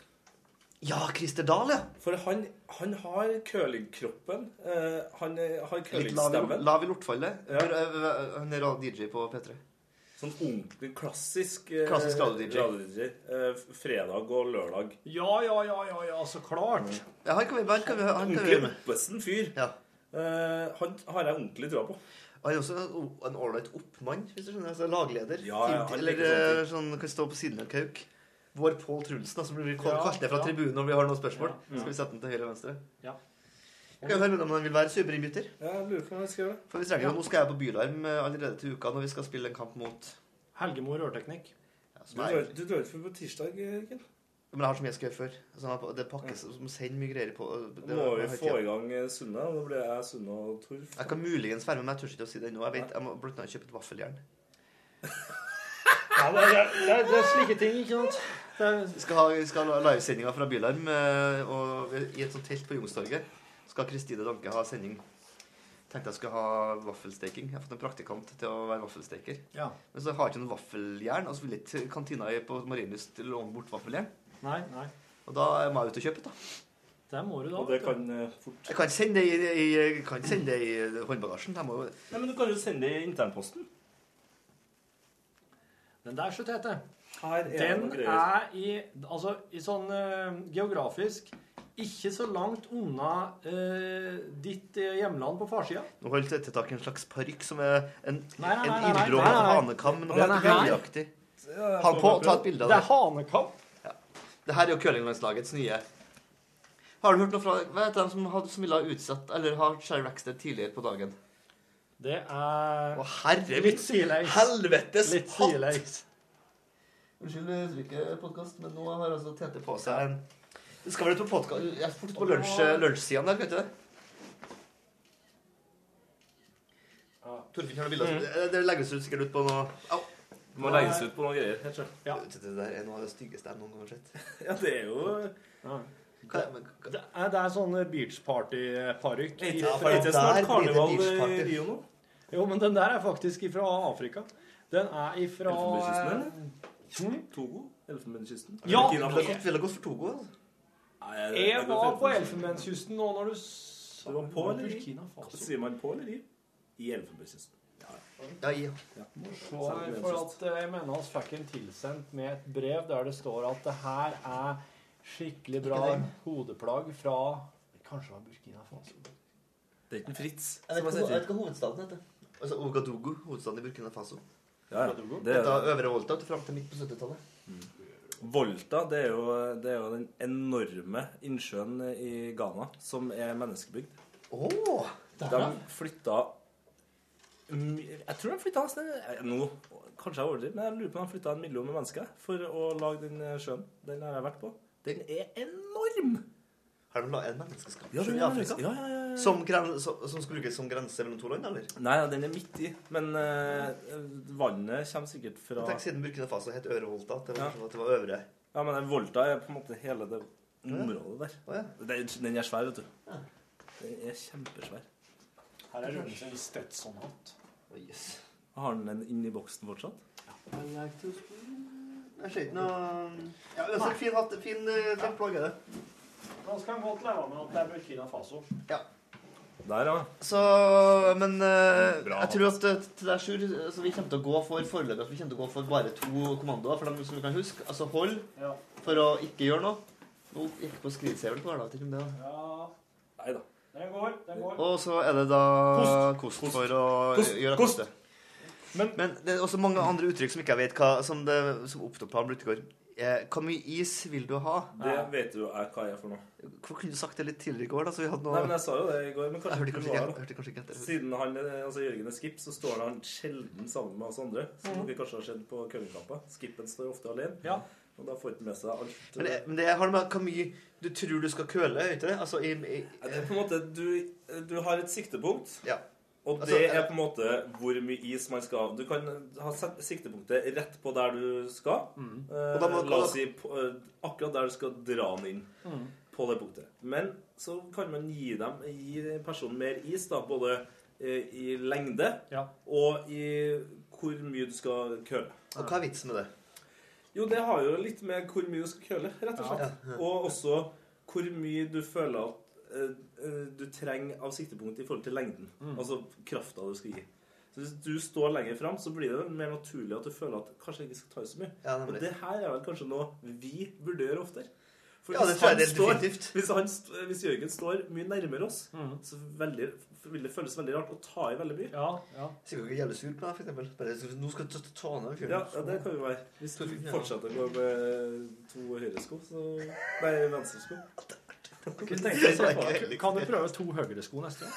B: Ja, Christer Dahl, ja!
C: For han, han har curlingkroppen. Eh, han eh, har
B: Litt lav, i-
C: curlingstemmen.
B: lav i lortfallet.
C: Ja.
B: Eh, Han er ra- DJ på P3.
C: Sånn ordentlig klassisk, eh,
B: Klassisk radio-DJ.
C: radio-DJ. Eh, f- fredag og lørdag.
A: Ja, ja, ja, ja, ja, så klart.
B: Ja, han kan vi han kan vi, han kan vi gjøre
C: Ordentlig
B: med.
C: oppesen fyr.
B: Ja.
C: Eh, han har jeg ordentlig trua på.
B: Han er også en- en ålreit oppmann, hvis du skjønner. Altså lagleder.
C: Ja, ja,
B: Team-
C: han liker
B: eller eh, sånn, kan stå på siden av en kauk. Vår Pål Trulsen, da, som blir kalt
A: Ja,
B: kalt ned fra
A: ja.
B: tribunen når vi har noen spørsmål.
A: Ja,
B: Skal vi sette den til høyre og venstre?
A: Ja.
B: Vi Kan jo høre om han vil være superinnbytter.
C: Jeg lurer på om jeg skal gjøre det.
B: For vi trenger jo, Nå skal jeg på Bylarm eh, allerede til uka når vi skal spille en kamp mot
A: Helgemo rørteknikk.
B: ja, som
C: Du
B: er,
C: drar- Du drar ikke på tirsdag, Kim?
B: Men jeg har så mye jeg skal gjøre før. Så jeg har på- det pakkes som sender mye greier på. og Det,
C: Da må vi
B: jeg har
C: få
B: ikke-
C: i gang eh, Sunne. og Da blir jeg Sunne og Torf.
B: Jeg kan muligens være med, men jeg tør ikke å si det ennå. Jeg vet, jeg må blant annet kjøpe et vaffeljern.
A: Ja, det, er- det, er- det er slike ting, ikke sant? Det er,
B: Vi skal ha, vi skal ha livesendinga fra Bylarm eh, og i et sånt telt på Youngstorget. Skal Kristine Danke ha sending. Tenkte jeg skulle ha vaffelsteking. Jeg har fått en praktikant til å være vaffelsteker.
A: ja.
B: Men så har jeg ikke noe vaffeljern, Altså, og så vil ikke kantina i- på Marienlyst låne bort vaffeljern.
A: Nei, nei.
B: Og da må jeg ut og kjøpe, da.
A: Det må du da.
C: Og
A: vet
C: det
A: du.
C: kan eh, fort
B: Jeg kan ikke sende det i, i, jeg kan ikke sende det i håndbagasjen. Jeg må jo
C: Nei, men Du kan jo sende det i internposten.
A: Den der, slutt hete.
C: Her er
A: Den
C: noen greier.
A: er i Altså, i sånn eh, geografisk ikke så langt unna eh, ditt eh, hjemland på farssida.
B: Nå holdt jeg til tak i en slags parykk som er en,
A: Nei, nei, nei,
B: en
A: nei, nei,
B: innblå
A: nei, nei.
B: hanekam. Noe
A: Den er her.
B: velgeaktig. Ha den på, ta et bilde
A: Det
B: av det.
A: er hanekamp.
B: Det her er jo curlinglandslagets nye. Har du hørt noe fra Hva heter de som, hadde- som ville ha utsatt eller har Sherry Rackstead tidligere på dagen?
A: Det er
B: Å, herre
A: Litt
B: mitt
A: sidelengs.
B: helvetes
A: Litt
B: hatt!
A: sidelengs.
B: Unnskyld uttrykket podkast, men nå har altså Tete på seg en Det skal vel ut på podkast Jeg er fort på lunsj- lunsjsidene der, vet du det? Ah. Torfinn har noen bilder. Det- Det legges ut sikkert ut på noe Au!
C: Det må legges ut på noen greier. helt klart.
A: Ja.
B: Det der er noe av det styggeste jeg noen gang har sett.
C: Ja, det er jo
A: Ja.
B: Hva er- men- hva-
A: Det er, det er sånn beach party-parykk.
C: Er
B: Ja, for
C: ikke- er ikke
B: der
C: snart
B: blir det
C: karneval i
B: beachparty.
C: Rio nå?
A: Jo, men den der er faktisk ifra Afrika. Den er ifra
C: Elfenbenskysten,
A: Hm?
C: Togo? Elfenbenskysten?
A: Ja,
C: Eller Kina
B: Ville
C: først?
B: gått- ville gått for Togo. altså.
C: Nei, jeg- jeg
A: Jeg
C: går
A: var
C: for
A: på Eh, Elfenbenskysten nå når du sa
C: Du var på, eller?
A: Burkina Faso.
C: Sier man på eller i? I Elfenbenskysten.
B: Ja, ja.
A: Så, For at eh, jeg mener han fikk en tilsendt med et brev der det står at det her er skikkelig bra
B: Ikke den.
A: hodeplagg fra Kanskje det var Burkina Faso.
C: Det er ikke en Fritz.
B: Jeg vet ikke hva- jeg vet ikke hva hovedstaden heter. Altså Ouagadougou, hovedstaden i Burkina Faso.
C: Ja, ja. Det
B: Dette
C: er,
B: er Øvre Volta til fram til midt på 70-tallet.
C: Volta det er, jo, det er jo den enorme innsjøen i Ghana som er menneskebygd.
B: Åh!
C: De flytta my- Jeg tror de flytta nesten eh, Nå kanskje jeg overdriver, men jeg lurer på om de flytta en million med mennesker for å lage den eh, sjøen. Den har jeg vært på. Den er enorm!
B: Her er det la- er det menneskeskapt
C: Ja,
B: sjø
C: den
B: i
C: er
B: Afrika?
C: Afrika. Ja, ja, ja, ja.
B: Som, gren, som, som skal brukes som grense mellom to land, eller?
C: Nei, ja, den er midt i. Men eh, vannet kommer sikkert fra
B: Tenk siden Burkina Faso het Øreholta. At det var, sånn
C: Ja.
B: at det var øvre.
C: Ja, men den Volta er på en måte hele det området der.
B: Å, ja.
C: Den, den er svær, vet du. Den er kjempesvær.
A: Her er Rune i Stetson-hatt.
B: Å, jøss.
C: Har den den inni boksen fortsatt?
B: Jeg ser ikke noe ja, uansett, Fin hatt. Fin eh, fin plagg er det.
A: Da skal han godt leve med at det er Burkina Faso.
B: Ja.
C: Der, ja.
B: Så, men eh,
C: Bra.
B: jeg tror at eh, til deg, Sjur, eh, så vi kommer til å gå for foreløpig at vi kommer til å gå for bare to kommandoer, for dem som vi kan huske. Altså hold
A: Ja.
B: for å ikke gjøre noe. Nå gikk på skridseilen på hverdag, ikke om det da.
A: ja.
C: Nei da.
A: Den går, den går.
B: Og så er det da kost, for å
C: Kost.
B: eh, gjøre
C: Kost.
B: kost.
A: Men-
B: Men det er også mange andre uttrykk som ikke jeg vet hva Som, det, som opptok på han Blutegård. Eh, hvor mye is vil du ha?
C: Det vet jo jeg hva jeg er for noe.
B: Hvorfor kunne du sagt det litt tidligere i går, da? Så vi hadde
C: Nei, men
B: noe
C: jeg sa jo det i går. Men
B: Jeg
C: kanskje
B: hørte
C: ikke du
B: kanskje ikke,
C: var
B: jeg
C: her.
B: hørte kanskje ikke etter.
C: Siden han, eh, altså Jørgen er skip, så står han sjelden sammen med oss andre. Som dere kanskje har sett på curlingkamper. Skippen står ofte alene.
A: Ja.
C: Og da får han ikke med seg alt.
B: Men det, men det har med hvor mye du tror du skal køle, er ikke det? Altså, i, i,
C: Ja, det er på en måte, du, du har et siktepunkt,
B: ja.
C: og
B: Altså,
C: det
B: eh,
C: er på en måte hvor mye is man skal ha. Du kan ha set- siktepunktet rett på der du skal. Eh,
B: Mm. Og da må-
C: La oss si på, eh, akkurat der du skal dra den inn.
B: Mm.
C: På det punktet. Men så kan man gi, dem, gi personen mer is, da, både eh, i lengde
A: Ja.
C: og i hvor mye du skal køle.
B: Og hva er vitsen med det?
C: Jo, det har jo litt med hvor mye du skal køle, rett og slett. Og også hvor mye du føler at eh, eh, du trenger av siktepunkt i forhold til lengden.
B: Mm.
C: Altså krafta du skal gi. Så Hvis du står lenger fram, så blir det mer naturlig at du føler at kanskje jeg ikke skal ta i så mye.
B: Ja, nemlig.
C: og det her er vel kanskje noe vi burde gjøre oftere. For
B: Ja, det
C: hvis
B: tror jeg
C: han
B: det er
C: står-
B: definitivt.
C: Hvis, han, st- hvis Jørgen står mye nærmere oss, så veldig, vil det føles veldig rart å ta i veldig mye.
A: Ja, ja.
B: Sikkert ikke jævlig sur på deg, for eksempel. Bare, så- nå skal du ta- ta ned
C: Ja,
B: fjorden.
C: ja, det kan jo være. Hvis du
B: Ja.
C: fortsetter å gå med to høyresko, så Nei, venstresko.
B: Kunne
C: tenke
B: tenke
C: deg
B: så er
C: tilbake.
B: ikke heldig.
A: Kan du prøve to høyere sko neste gang?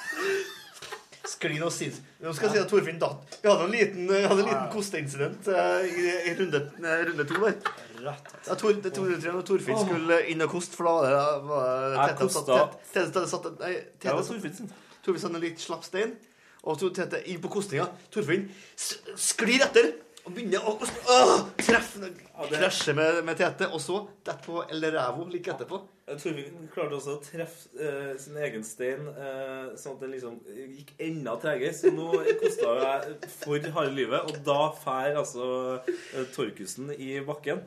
B: Skli noe sins. Nå skal jeg si at Torfinn datt. Vi hadde en liten, vi hadde en liten kosteincident eh, i, i runde, eh, runde to der.
A: Rett.
B: Ja, Tor, det, Tor, det, når Torfinn skulle inn og koste, for da var det, da var det
C: Jeg
B: Tete satt-
C: kosta.
B: Tete- Tete satt- satt- nei,
C: Det
B: Tete
C: var
B: satt-
C: Torfinn sin.
B: Torfinn satt en litt slapp stein, og Tor- Tete inn på kostinga. Torfinn s- sklir etter og begynner å koste. Åh, treffe
C: det-
B: Krasje med, med Tete, og så detter på El Rævo like etterpå.
C: Eh, Torfinn klarte også å treffe eh, sin egen stein, eh, sånn at den liksom gikk enda tregere. Så nå kosta jo jeg for harde livet, og da fær altså eh, Torkussen i bakken.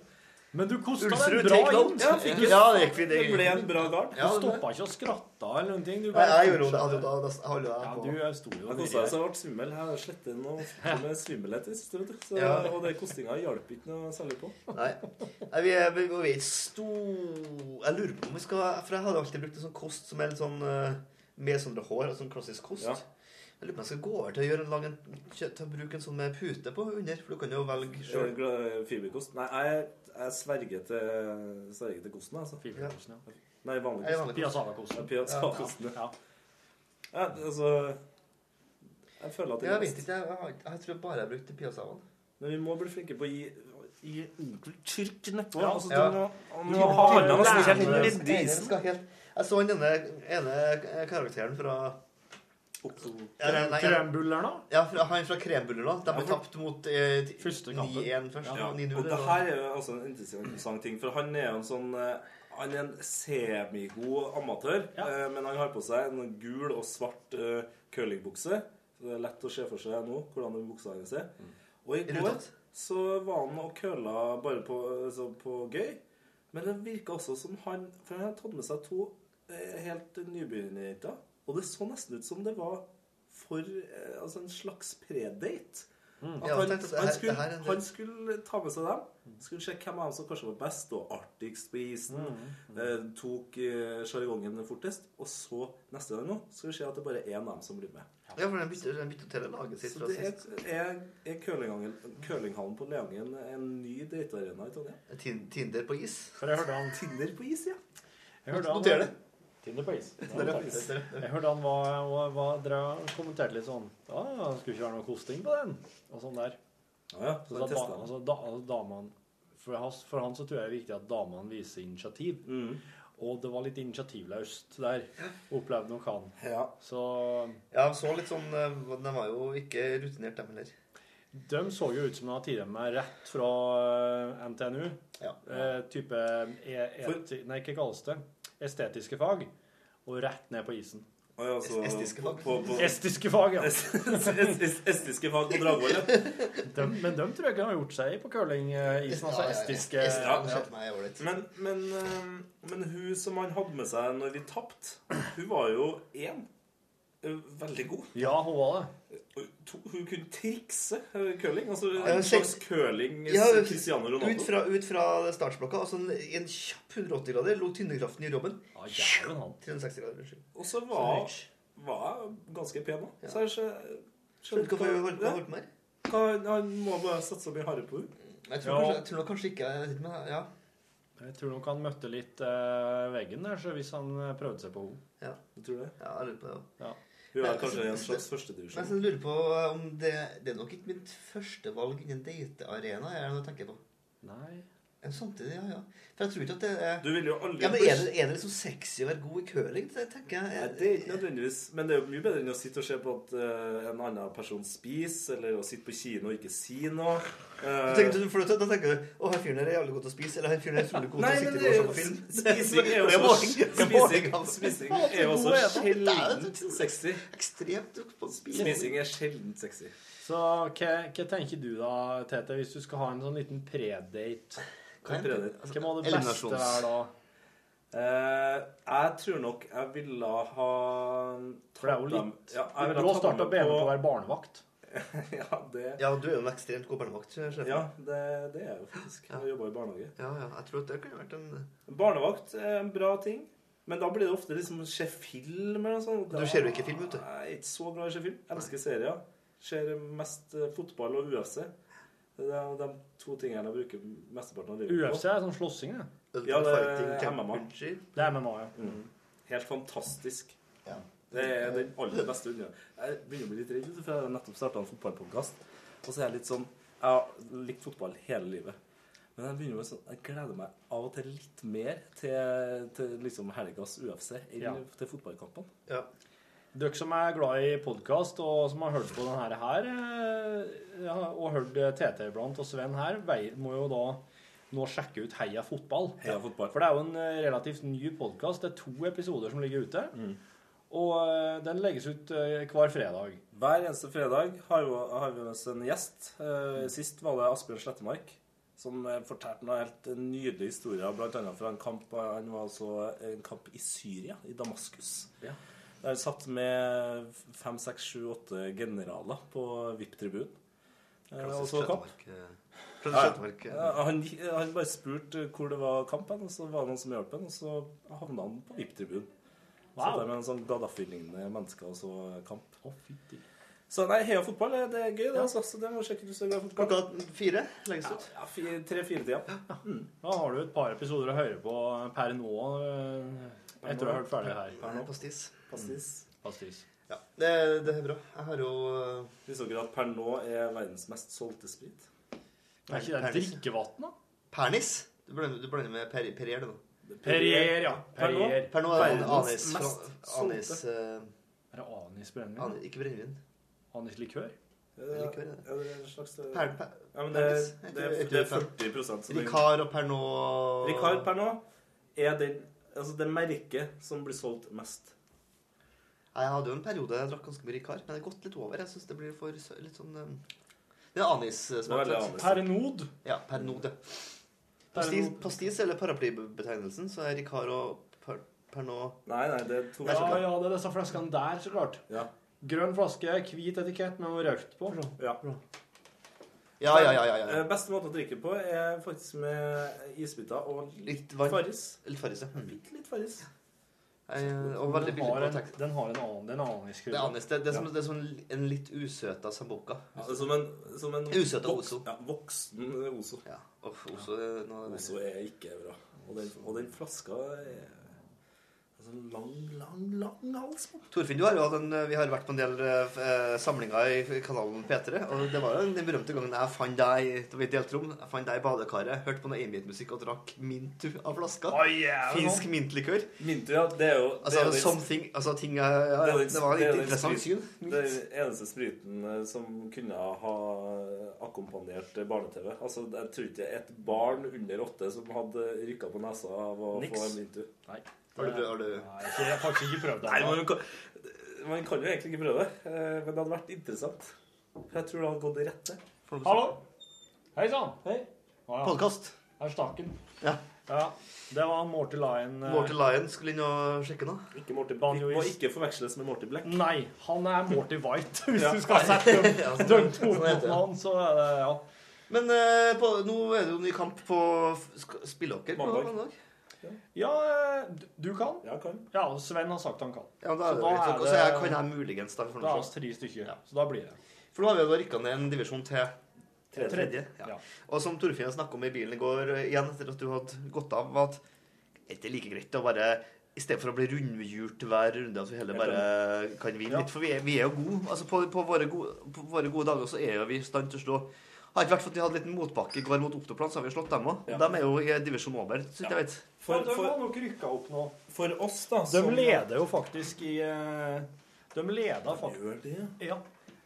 A: Men du kosta den
B: Ulsrud
A: bra
B: take
A: inn.
B: note.
A: Du
C: fikk jo-
B: Ja, det gikk fint.
C: Det ble en bra gard.
B: Ja, det ble-
A: stoppa ikke og skratta eller noen ting. Du
B: Nei, jeg gjorde
A: fortsatte.
B: det. Jeg hadde jo da, da holdt jeg
A: Ja,
B: på.
A: du jeg sto jo
C: Jeg
A: og
C: kosta meg så jeg ble svimmel. Jeg slettet inn og fikk med svimmelhet i siste, vet du. Så,
B: Ja.
C: Og det kostinga hjalp ikke noe særlig på.
B: Nei. Nei, vi er, vi, vi er ikke sto... Jeg lurer på om vi skal For jeg hadde alltid brukt en sånn kost som er litt sånn eh, med sånne hår, altså sånn klassisk kost.
C: Ja.
B: Jeg lurer på om jeg skal gå over til å gjøre en lang en, kjø- til å bruke en sånn med pute på under. For du kan jo velge
C: Eh,
B: sjøl.
C: gla- Fiberkost? Nei, jeg, jeg sverger til, sverger til kosten, altså.
A: dirigerte.
C: Nei, vanlig kost.
A: Pia Sava-kosten.
C: Ja, pia-
B: Ja.
C: kosten, ja.
A: Ja.
C: Ja, altså Jeg føler at det
B: Jeg
C: er
B: vet
C: best.
B: ikke. Jeg, har- jeg tror bare jeg brukte piasavan.
C: Men vi må bli flinke på å gi gi ordentlig trykk nedpå.
A: Ja.
C: Altså,
B: Ja.
C: du må,
A: Du må
C: du må ha
A: lære
C: hånda nesten
A: deg
C: helt
A: det.
C: nedi isen.
B: Jeg så den ene, ene karakteren fra ja, nei, nei, ja,
A: Krembuller, da?
B: ja, fra, han fra Krembullerne. De ble
C: for-
B: tapt mot eh, t-
A: Første kampen.
B: 9-1 først.
C: Ja.
B: og 9-0.
C: Og det
B: eller noe.
C: her er jo også en interessant ting, for han er jo en sånn eh, han er en semigod amatør,
A: Ja.
C: eh, men han har på seg en gul og svart eh, curlingbukse. Så det er lett å se for seg nå hvordan den buksa hans er. Og i
B: Mm. Er det
C: går
B: tatt?
C: så var han og curla bare på, altså, på gøy, men det virka også som han For han har tatt med seg to eh, helt nybegynnerjenter, og det så nesten ut som det var for eh, altså en slags predate.
A: Mm.
C: At
B: Ja,
C: han,
B: tenk at det her-
C: han, skulle,
B: det her er en-
C: han skulle ta med seg dem. Skulle sjekke hvem av dem som kanskje var best og artigst på isen.
A: Mm.
C: Eh, tok eh, sjargongen fortest. Og så, neste gang nå, skal vi se at det bare er én av dem som blir med.
B: Ja, for den bytter, den bytter til laget sitt
C: Så
B: fra
C: det er,
B: sist.
C: er, er curlinghallen curlinghallen på Leangen en ny datearena i Trondheim?
B: Tin- Tinder på is.
A: For jeg hørte han
C: Tinder på is, ja.
A: jeg hørte han-
B: Noter det.
A: Tinder på is.
B: Tinder på is.
A: Jeg hørte han var, var, var, dere kommenterte litt sånn ah, 'Skulle ikke være noe kosting på den.' Og sånn der.
C: Ja, ja.
A: Så
C: Så
A: da,
C: da testet han.
A: altså, da, altså, damene for, hans, for han så tror jeg det er viktig at damene viser initiativ.
C: Mm.
A: Og det var litt initiativløst der, opplevde nok han.
B: Ja.
A: Så
B: ja, så litt sånn eh, De var jo ikke rutinert, dem heller.
A: de så jo ut som de hadde tatt dem rett fra eh, NTNU.
B: Ja.
A: Eh, type e eti- Nei, ikke kalles det. Estetiske fag. Og rett ned på isen.
C: Å ja, så-
B: Estiske fag.
C: På, på,
A: Estiske fag, ja.
C: Es- es- es- Estiske fag på Dragvoll. ja.
A: De, men de tror jeg ikke har gjort seg i på curlingisen. Altså
B: Ja, ja, ja.
A: estiske
B: Est-
A: ja,
B: ja, det skjedde meg i år litt.
C: Men, men, eh, men hun som han hadde med seg når vi tapte, hun var jo én. eh, Veldig god.
A: ja, hun var det.
C: Og To, hun kunne trikse eh, curling. Altså
B: Ja,
C: en slags curling eh,
B: Ja,
C: Cristiano Ronaldo.
B: ut fra, ut fra startsblokka, altså en, i en kjapp 180-grader, lå tynnekraften i robben.
A: Ja, jævlen han.
B: 360-grader, unnskyld.
C: Og så
B: Så
C: var,
B: rich.
C: var jeg ganske pen òg.
B: Ja.
C: Så jeg skjø-
B: Skjønner du
C: hva-
B: hvorfor jeg holdt på
C: ja,
B: holdt på med det?
C: hva- Han må bare satse så mye hardere på henne.
B: Jeg tror,
A: Ja.
B: kanskje, jeg tror nok kanskje ikke jeg vet ikke, men ja.
A: Jeg tror nok han møtte litt eh, veggen der, så hvis han eh, prøvde seg på henne.
C: Jeg tror det.
B: ja, jeg lurer på det også.
A: Ja.
C: Hun
B: Men-
C: er kanskje i en slags
B: Men jeg
C: førstedivisjon.
B: synes jeg lurer på om det, det er nok ikke mitt første valg innen datearena. Er det noe å tenke på?
A: Nei
B: Men samtidig, ja, ja. For jeg tror ikke at det er
C: Du vil jo aldri
B: ja, men er det, er det liksom sexy å være god i curling? Det tenker jeg.
C: Nei, det er ikke nødvendigvis Men det er jo mye bedre enn å sitte og se på at eh, en annen person spiser, eller å sitte på kino og ikke si noe.
B: Du
C: Eh,
B: tenker, du- for da da tenker du å, han fyren her er jævlig god til å spise, eller han fyren her er utrolig god
C: Nei,
B: til å
C: men
B: sitte og
C: det er
B: se
C: jo
B: på film.
C: spising er jo
B: Det er
C: også
B: måling. Det er måling,
C: Spising,
B: altså.
C: spising er jo også
B: Det er jo
C: sjeldent
B: utrolig.
C: sexy.
B: Ekstremt dukk på spising.
C: Spising er sjeldent sexy.
A: Så hva, hva tenker du da, Tete, hvis du skal ha en sånn liten predate?
B: Hva er det? Altså,
A: Hvem var det beste
B: eliminasjons-
A: her da?
C: Eh, jeg tror nok jeg ville ha
A: For det er jo
C: tatt dem-
A: litt
C: ja, jeg ville
A: Du har
C: ha tatt
A: starta
C: dem
A: BM på å
C: på-
A: være barnevakt.
C: Ja, det,
B: Ja, du er jo en ekstremt god barnevakt. sjef.
C: ja, det, det er jeg jo faktisk.
B: Ja.
C: Jeg jobber i barnehage.
B: ja, ja. Jeg tror at det kunne vært en
C: Barnevakt er en bra ting. Men da blir det ofte liksom se film eller noe sånt.
B: Du ser jo ikke film, vet du.
C: Nei, ikke så bra å se film. Elsker serier. Ser mest eh, fotball og UFC. Det er de to tingene jeg bruker mesteparten av livet
A: UFC er sånn slåssing, det.
B: Ultimate
C: Ja, det er
B: Fighting
C: MMA.
B: Championship.
A: Det er MMA, ja.
C: på. Helt fantastisk.
B: Ja.
C: Det er den aller beste unna. Jeg begynner å bli litt redd, vet du, for jeg har nettopp starta en fotballpodkast. Og så er jeg litt sånn Jeg har likt fotball hele livet. Men jeg begynner med sånn, jeg gleder meg av og til litt mer til, til liksom helgas UFC enn
A: Ja.
C: til fotballkampene.
B: Ja.
A: Dere som er glad i podkast, og som har hørt på denne her, her, eh, ja, og hørt eh, Tete iblant, og Sven her, vei- må jo da nå sjekke ut Heia fotball.
C: Heia fotball.
A: For det er jo en eh, relativt ny podkast. Det er to episoder som ligger ute. Og eh, den legges ut eh, hver fredag.
C: Hver eneste fredag har, jo, har vi med oss en gjest. Eh, sist var det Asbjørn Slettemark, som eh, fortalte noen helt nydelige historier, bl.a. fra en kamp eh, Han var altså en kamp i Syria, i Damaskus.
A: Ja.
C: Der han satt med fem, seks, sju, åtte generaler på VIP-tribunen. Eh, og så kamp.
B: Skjøtemark.
C: Ja, han, han bare spurte hvor det var kamp, hen, og så var det noen som hjalp ham, og så havna han på VIP-tribunen. Wow.
A: Wow.
C: Satt der med en sånn Gaddafi-lignende menneske og så kamp.
A: Å, fytti.
C: Så nei, heia fotball, det er gøy, det. Altså, så det må du sjekke ut. hvis du er glad i fotball.
B: Klokka fire legges ut.
C: Ja, fi- Tre-fire tida.
A: Da har du et par episoder å høre på per nå eh, etter å ha hørt ferdig her.
B: Nei, Pastis.
C: Pastis.
A: Pastis.
B: Eh, Ja, det, det er bra. Jeg har jo eh,
C: Visste dere at per nå er verdens mest solgte sprit?
A: Er ikke det
B: Pernis.
A: drikkevann, da?
B: Pernis. Du blander, du blander med per, Perrier, du nå.
A: Perrier, ja.
C: Per nå?
A: Perrier.
B: Per nå er det
C: Verdens
B: anis,
C: mest Mm.
B: fra- anis, eh,
A: Er det anisbrennevin?
B: anis Ikke brennevin.
A: Anislikør?
C: Ja,
B: likevel, ja.
C: ja, det er en slags eh,
B: Per, per,
C: ja, men det, er-
B: Pernis.
C: det, er- det er 40 som er-
B: Ricard og Pernod
C: Ricard per nå er den, altså det merket som blir solgt mest.
B: Jeg hadde jo en periode jeg drakk ganske mye Ricard, men det har gått litt over. Jeg synes det blir for sø- litt sånn eh, Det er eh,
C: Det er
B: anissmak.
C: veldig
B: rett og slett.
C: annerledes.
A: Pernod?
B: Ja, Pernod. ja. Pastis,
A: Pernod.
B: pastis eller paraplybetegnelsen, så er Ricard og per, Pernod
C: Nei, nei, det er to
A: Ja, ja, det er disse flaskene der, så klart.
C: Ja.
A: Grønn flaske, hvit etikett med noe rødt på. Så.
C: ja.
B: Ja, ja, ja. ja, ja.
C: Eh, Beste måte å drikke på er faktisk med isbiter og litt
B: Litt vann.
C: Farris.
B: Litt farris, ja. Mm.
C: Litt, litt Farris.
B: Eh, Og veldig
A: Den
B: billig
A: har
B: på
A: en,
B: tekst.
A: den har en annen, den
B: Det er
A: aniskrydder.
B: anis. Det, det, er som, det er som en litt usøta sambuca.
C: Ja, som en, som en
B: Usøta
C: voks-
B: Ozo.
C: Ja, voksen Ozo.
B: Ja. Og også, eh, noe-
C: Ozo er ikke bra. Og den, og den flaska er
E: En sånn lang, lang, lang hals. på den.
B: Torfinn, du har jo hatt en, vi har vært på en del eh, samlinger i kanalen P3. Og det var jo den berømte gangen jeg fant deg i- da vi delte rom. Jeg fant deg i badekaret, hørte på noe Amid-musikk og drakk Mintu av flaska. Finsk mintlikør.
C: Mintu, ja. Det er jo det,
B: Altså,
C: er jo den-
B: something, altså ting jeg, ja,
C: Det er jo litt-
B: Det var
C: det er jo
B: et
C: litt
B: interessant syn.
C: det er den eneste spriten eh, som kunne ha akkompagnert barne-TV. Altså, jeg tror ikke det er et barn under åtte som hadde rykka på nesa av å
A: Niks.
C: få en Mintu.
A: Nei.
B: Har du, har du...
A: Nei, ikke, jeg har faktisk ikke prøvd det.
C: Nei,
A: ennå.
C: man kan, man kan jo egentlig ikke prøve, eh, men det hadde vært interessant. Jeg tror det hadde gått i rette.
A: Hallo! Hei sann! Hei. Å ja,
B: Podkast.
A: her stakk den.
B: Ja.
A: ja. Det var Morty Lion. eh.
B: Morty Lion skulle inn og sjekke noe.
C: Ikke Morty
A: Banjo
C: Må
A: is.
C: ikke forveksles med Morty Black.
A: Nei, han er Morty White, hvis
C: Ja.
A: du skal sette dømt
B: Ja, sånn-
A: dømt
B: sånn
A: hodet
B: heter
A: på
B: det.
A: han, så er det ja.
B: Men eh, på, nå er det jo ny kamp på Sk- Spillåker. på
C: Mandag.
B: mandag.
A: Ja, eh, du- du kan.
C: Ja, kan.
A: Ja, og Sven har sagt han kan.
B: Ja, da
A: Så
B: er det
A: da
B: jo litt
A: er
B: sånn. Og så
A: det-
B: jeg kan jeg muligens da, for
A: Det er
B: noe
A: oss tre stykker, så da blir det.
B: For nå har vi jo da rykka ned en divisjon til
C: Tredje.
B: Ja.
A: Ja.
B: Og som Torfinn snakka om i bilen i går, eh, igjen etter at du hadde gått av, var at er det like greit å bare i stedet for å bli rundhjult hver runde, at vi heller bare kan vinne
A: Ja.
B: litt. For vi er, vi er jo gode. Altså på, på, våre gode, på våre gode dager så er jo vi i stand til å slå. Har ikke vært for at vi hadde en liten motbakke i går mot Oktoplan, så har vi slått dem òg.
C: Ja.
B: De er jo i divisjon over, så vidt jeg vet.
C: For,
A: de
C: for,
A: har nok rykka opp nå.
C: for oss, da
A: De
C: som-
A: leder jo faktisk i eh, De leda faktisk
C: Gjør det, ja.
A: Ja.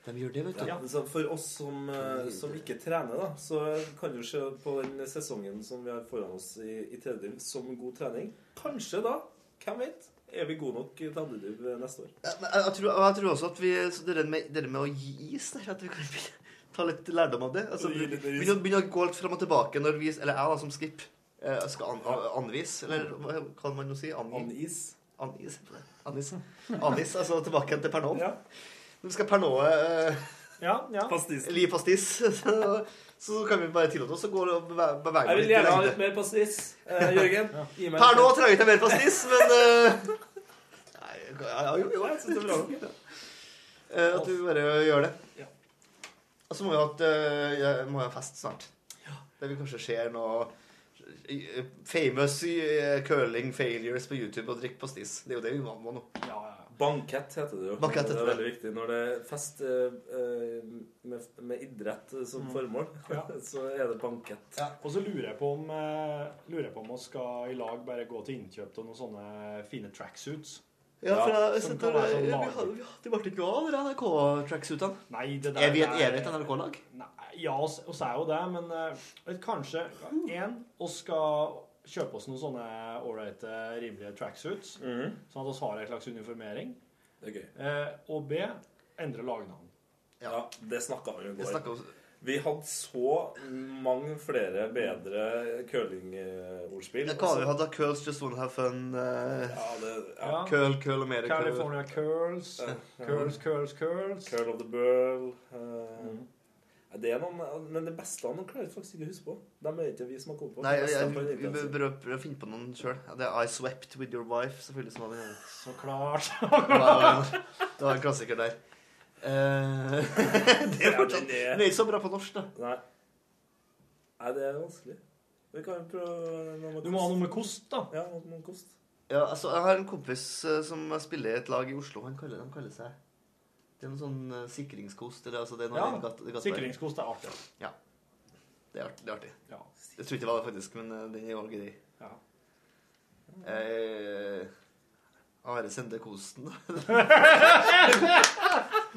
B: De gjør det, vet du.
C: Ja. Så for oss som, eh, som ikke trener, da, så kan du se på den sesongen som vi har foran oss i, i tredje div, som god trening. Kanskje da, hvem vet, er vi gode nok til andre div neste år.
B: Ja, men jeg, jeg, tror, og jeg tror også at vi så det der med, det der med å gi is der, At vi kan begynne- ta litt lærdom av det. Altså,
C: Gi litt is.
B: begynne, å- begynne å gå litt fram og tilbake når vi Eller jeg, da, som skip, eh, skal an, an, anvise Eller hva kan man jo si?
C: On
B: Angi?
C: is.
B: Anis? Anis, anis altså tilbake igjen til Pernod.
C: Ja.
B: Når vi skal Pernod eh,
A: ja, ja.
C: Pastis.
B: li pastis, så, så kan vi bare tillate oss å gå og bevege, bevege
C: Jeg
B: oss
C: vil
B: litt i
C: gjerne ha litt
B: lengde.
C: mer pastis. Eh, Jørgen, gi meg
B: Pernod trenger ikke mer pastis, men eh, Nei, ja, jo, jo, jeg synes det er bra. nok, ja. Eh, At du bare gjør det.
A: Ja.
B: Og så må vi ha, et, eh, jeg må jo ha fest snart. Der vi kanskje ser noe eh, famous eh, curling failures på YouTube og drikke pastis. Det er jo det vi må ha nå.
A: ja, ja.
C: Bankett heter det jo.
B: Bankett heter
C: det er
B: det.
C: veldig viktig. Når det er fest eh, eh, med, med idrett
B: Mm.
C: som formål,
A: Ja.
C: så er det bankett.
A: Og så lurer jeg på om eh, Lurer jeg på om vi skal i lag bare gå til innkjøp av noen sånne fine tracksuits.
B: Ja, for jeg,
A: som
B: setter,
A: kan være sånn
B: vi,
A: lag.
B: hadde- vi hadde vært ikke noe av de NRK-tracksuitene.
A: Nei, det der
B: Er vi
A: er-
B: er vi et NRK-lag?
A: Nei, ja, oss oss er jo det, men eh, vet, kanskje én Vi skal kjøpe oss noen sånne ålreite, rimelige tracksuits,
B: Mm.
C: Mhm.
A: sånn at vi har en slags uniformering.
C: Det er gøy.
A: Eh, og B endre lagnavn.
B: Ja.
C: Ja, det snakka vi om i
B: Vi
C: går.
B: snakker om
C: Vi hadde så mange flere bedre curlingordspill.
B: Hva har vi hatt da? Curls Just Wanna Have Fun? eh,
C: Ja, det, ja.
A: Ja.
B: Curl, curl og mer curl.
A: California curls. Curls, curls, curls.
C: Curl of the Burl. eh, ja, Det er noen, men det beste av dem klarer jeg faktisk ikke å huske på. De er ikke vi som har kommet på.
B: Nei,
C: Det
B: jeg,
C: beste
B: jeg,
C: av dem er
B: vi bør
C: internett.
B: prøve prøve å finne på noen sjøl. Det er I Swept With Your Wife, selvfølgelig. som var det.
A: Så klart.
B: Det var, det var en klassiker der. Eh, det er
C: Ja,
B: fortsatt
C: men det-
B: Den er ikke så bra på norsk, da.
C: Nei. Nei, det er vanskelig. Vi kan jo prøve noe med
A: Du må ha noe med kost, da.
C: Ja, noe med kost.
B: Ja, altså, jeg har en kompis eh, som spiller i et lag i Oslo. Han kaller, han kaller seg Det er noe sånn eh, sikringskost. Eller, altså, det er noe
A: Ja,
B: i gat- i gata der.
A: Sikringskost er artig.
B: Det er artig. Det er artig.
A: Ja.
B: Jeg tror ikke det var det, faktisk, men eh, den er jo grei.
A: Ja.
B: Eh, Are Sende Kosten, da.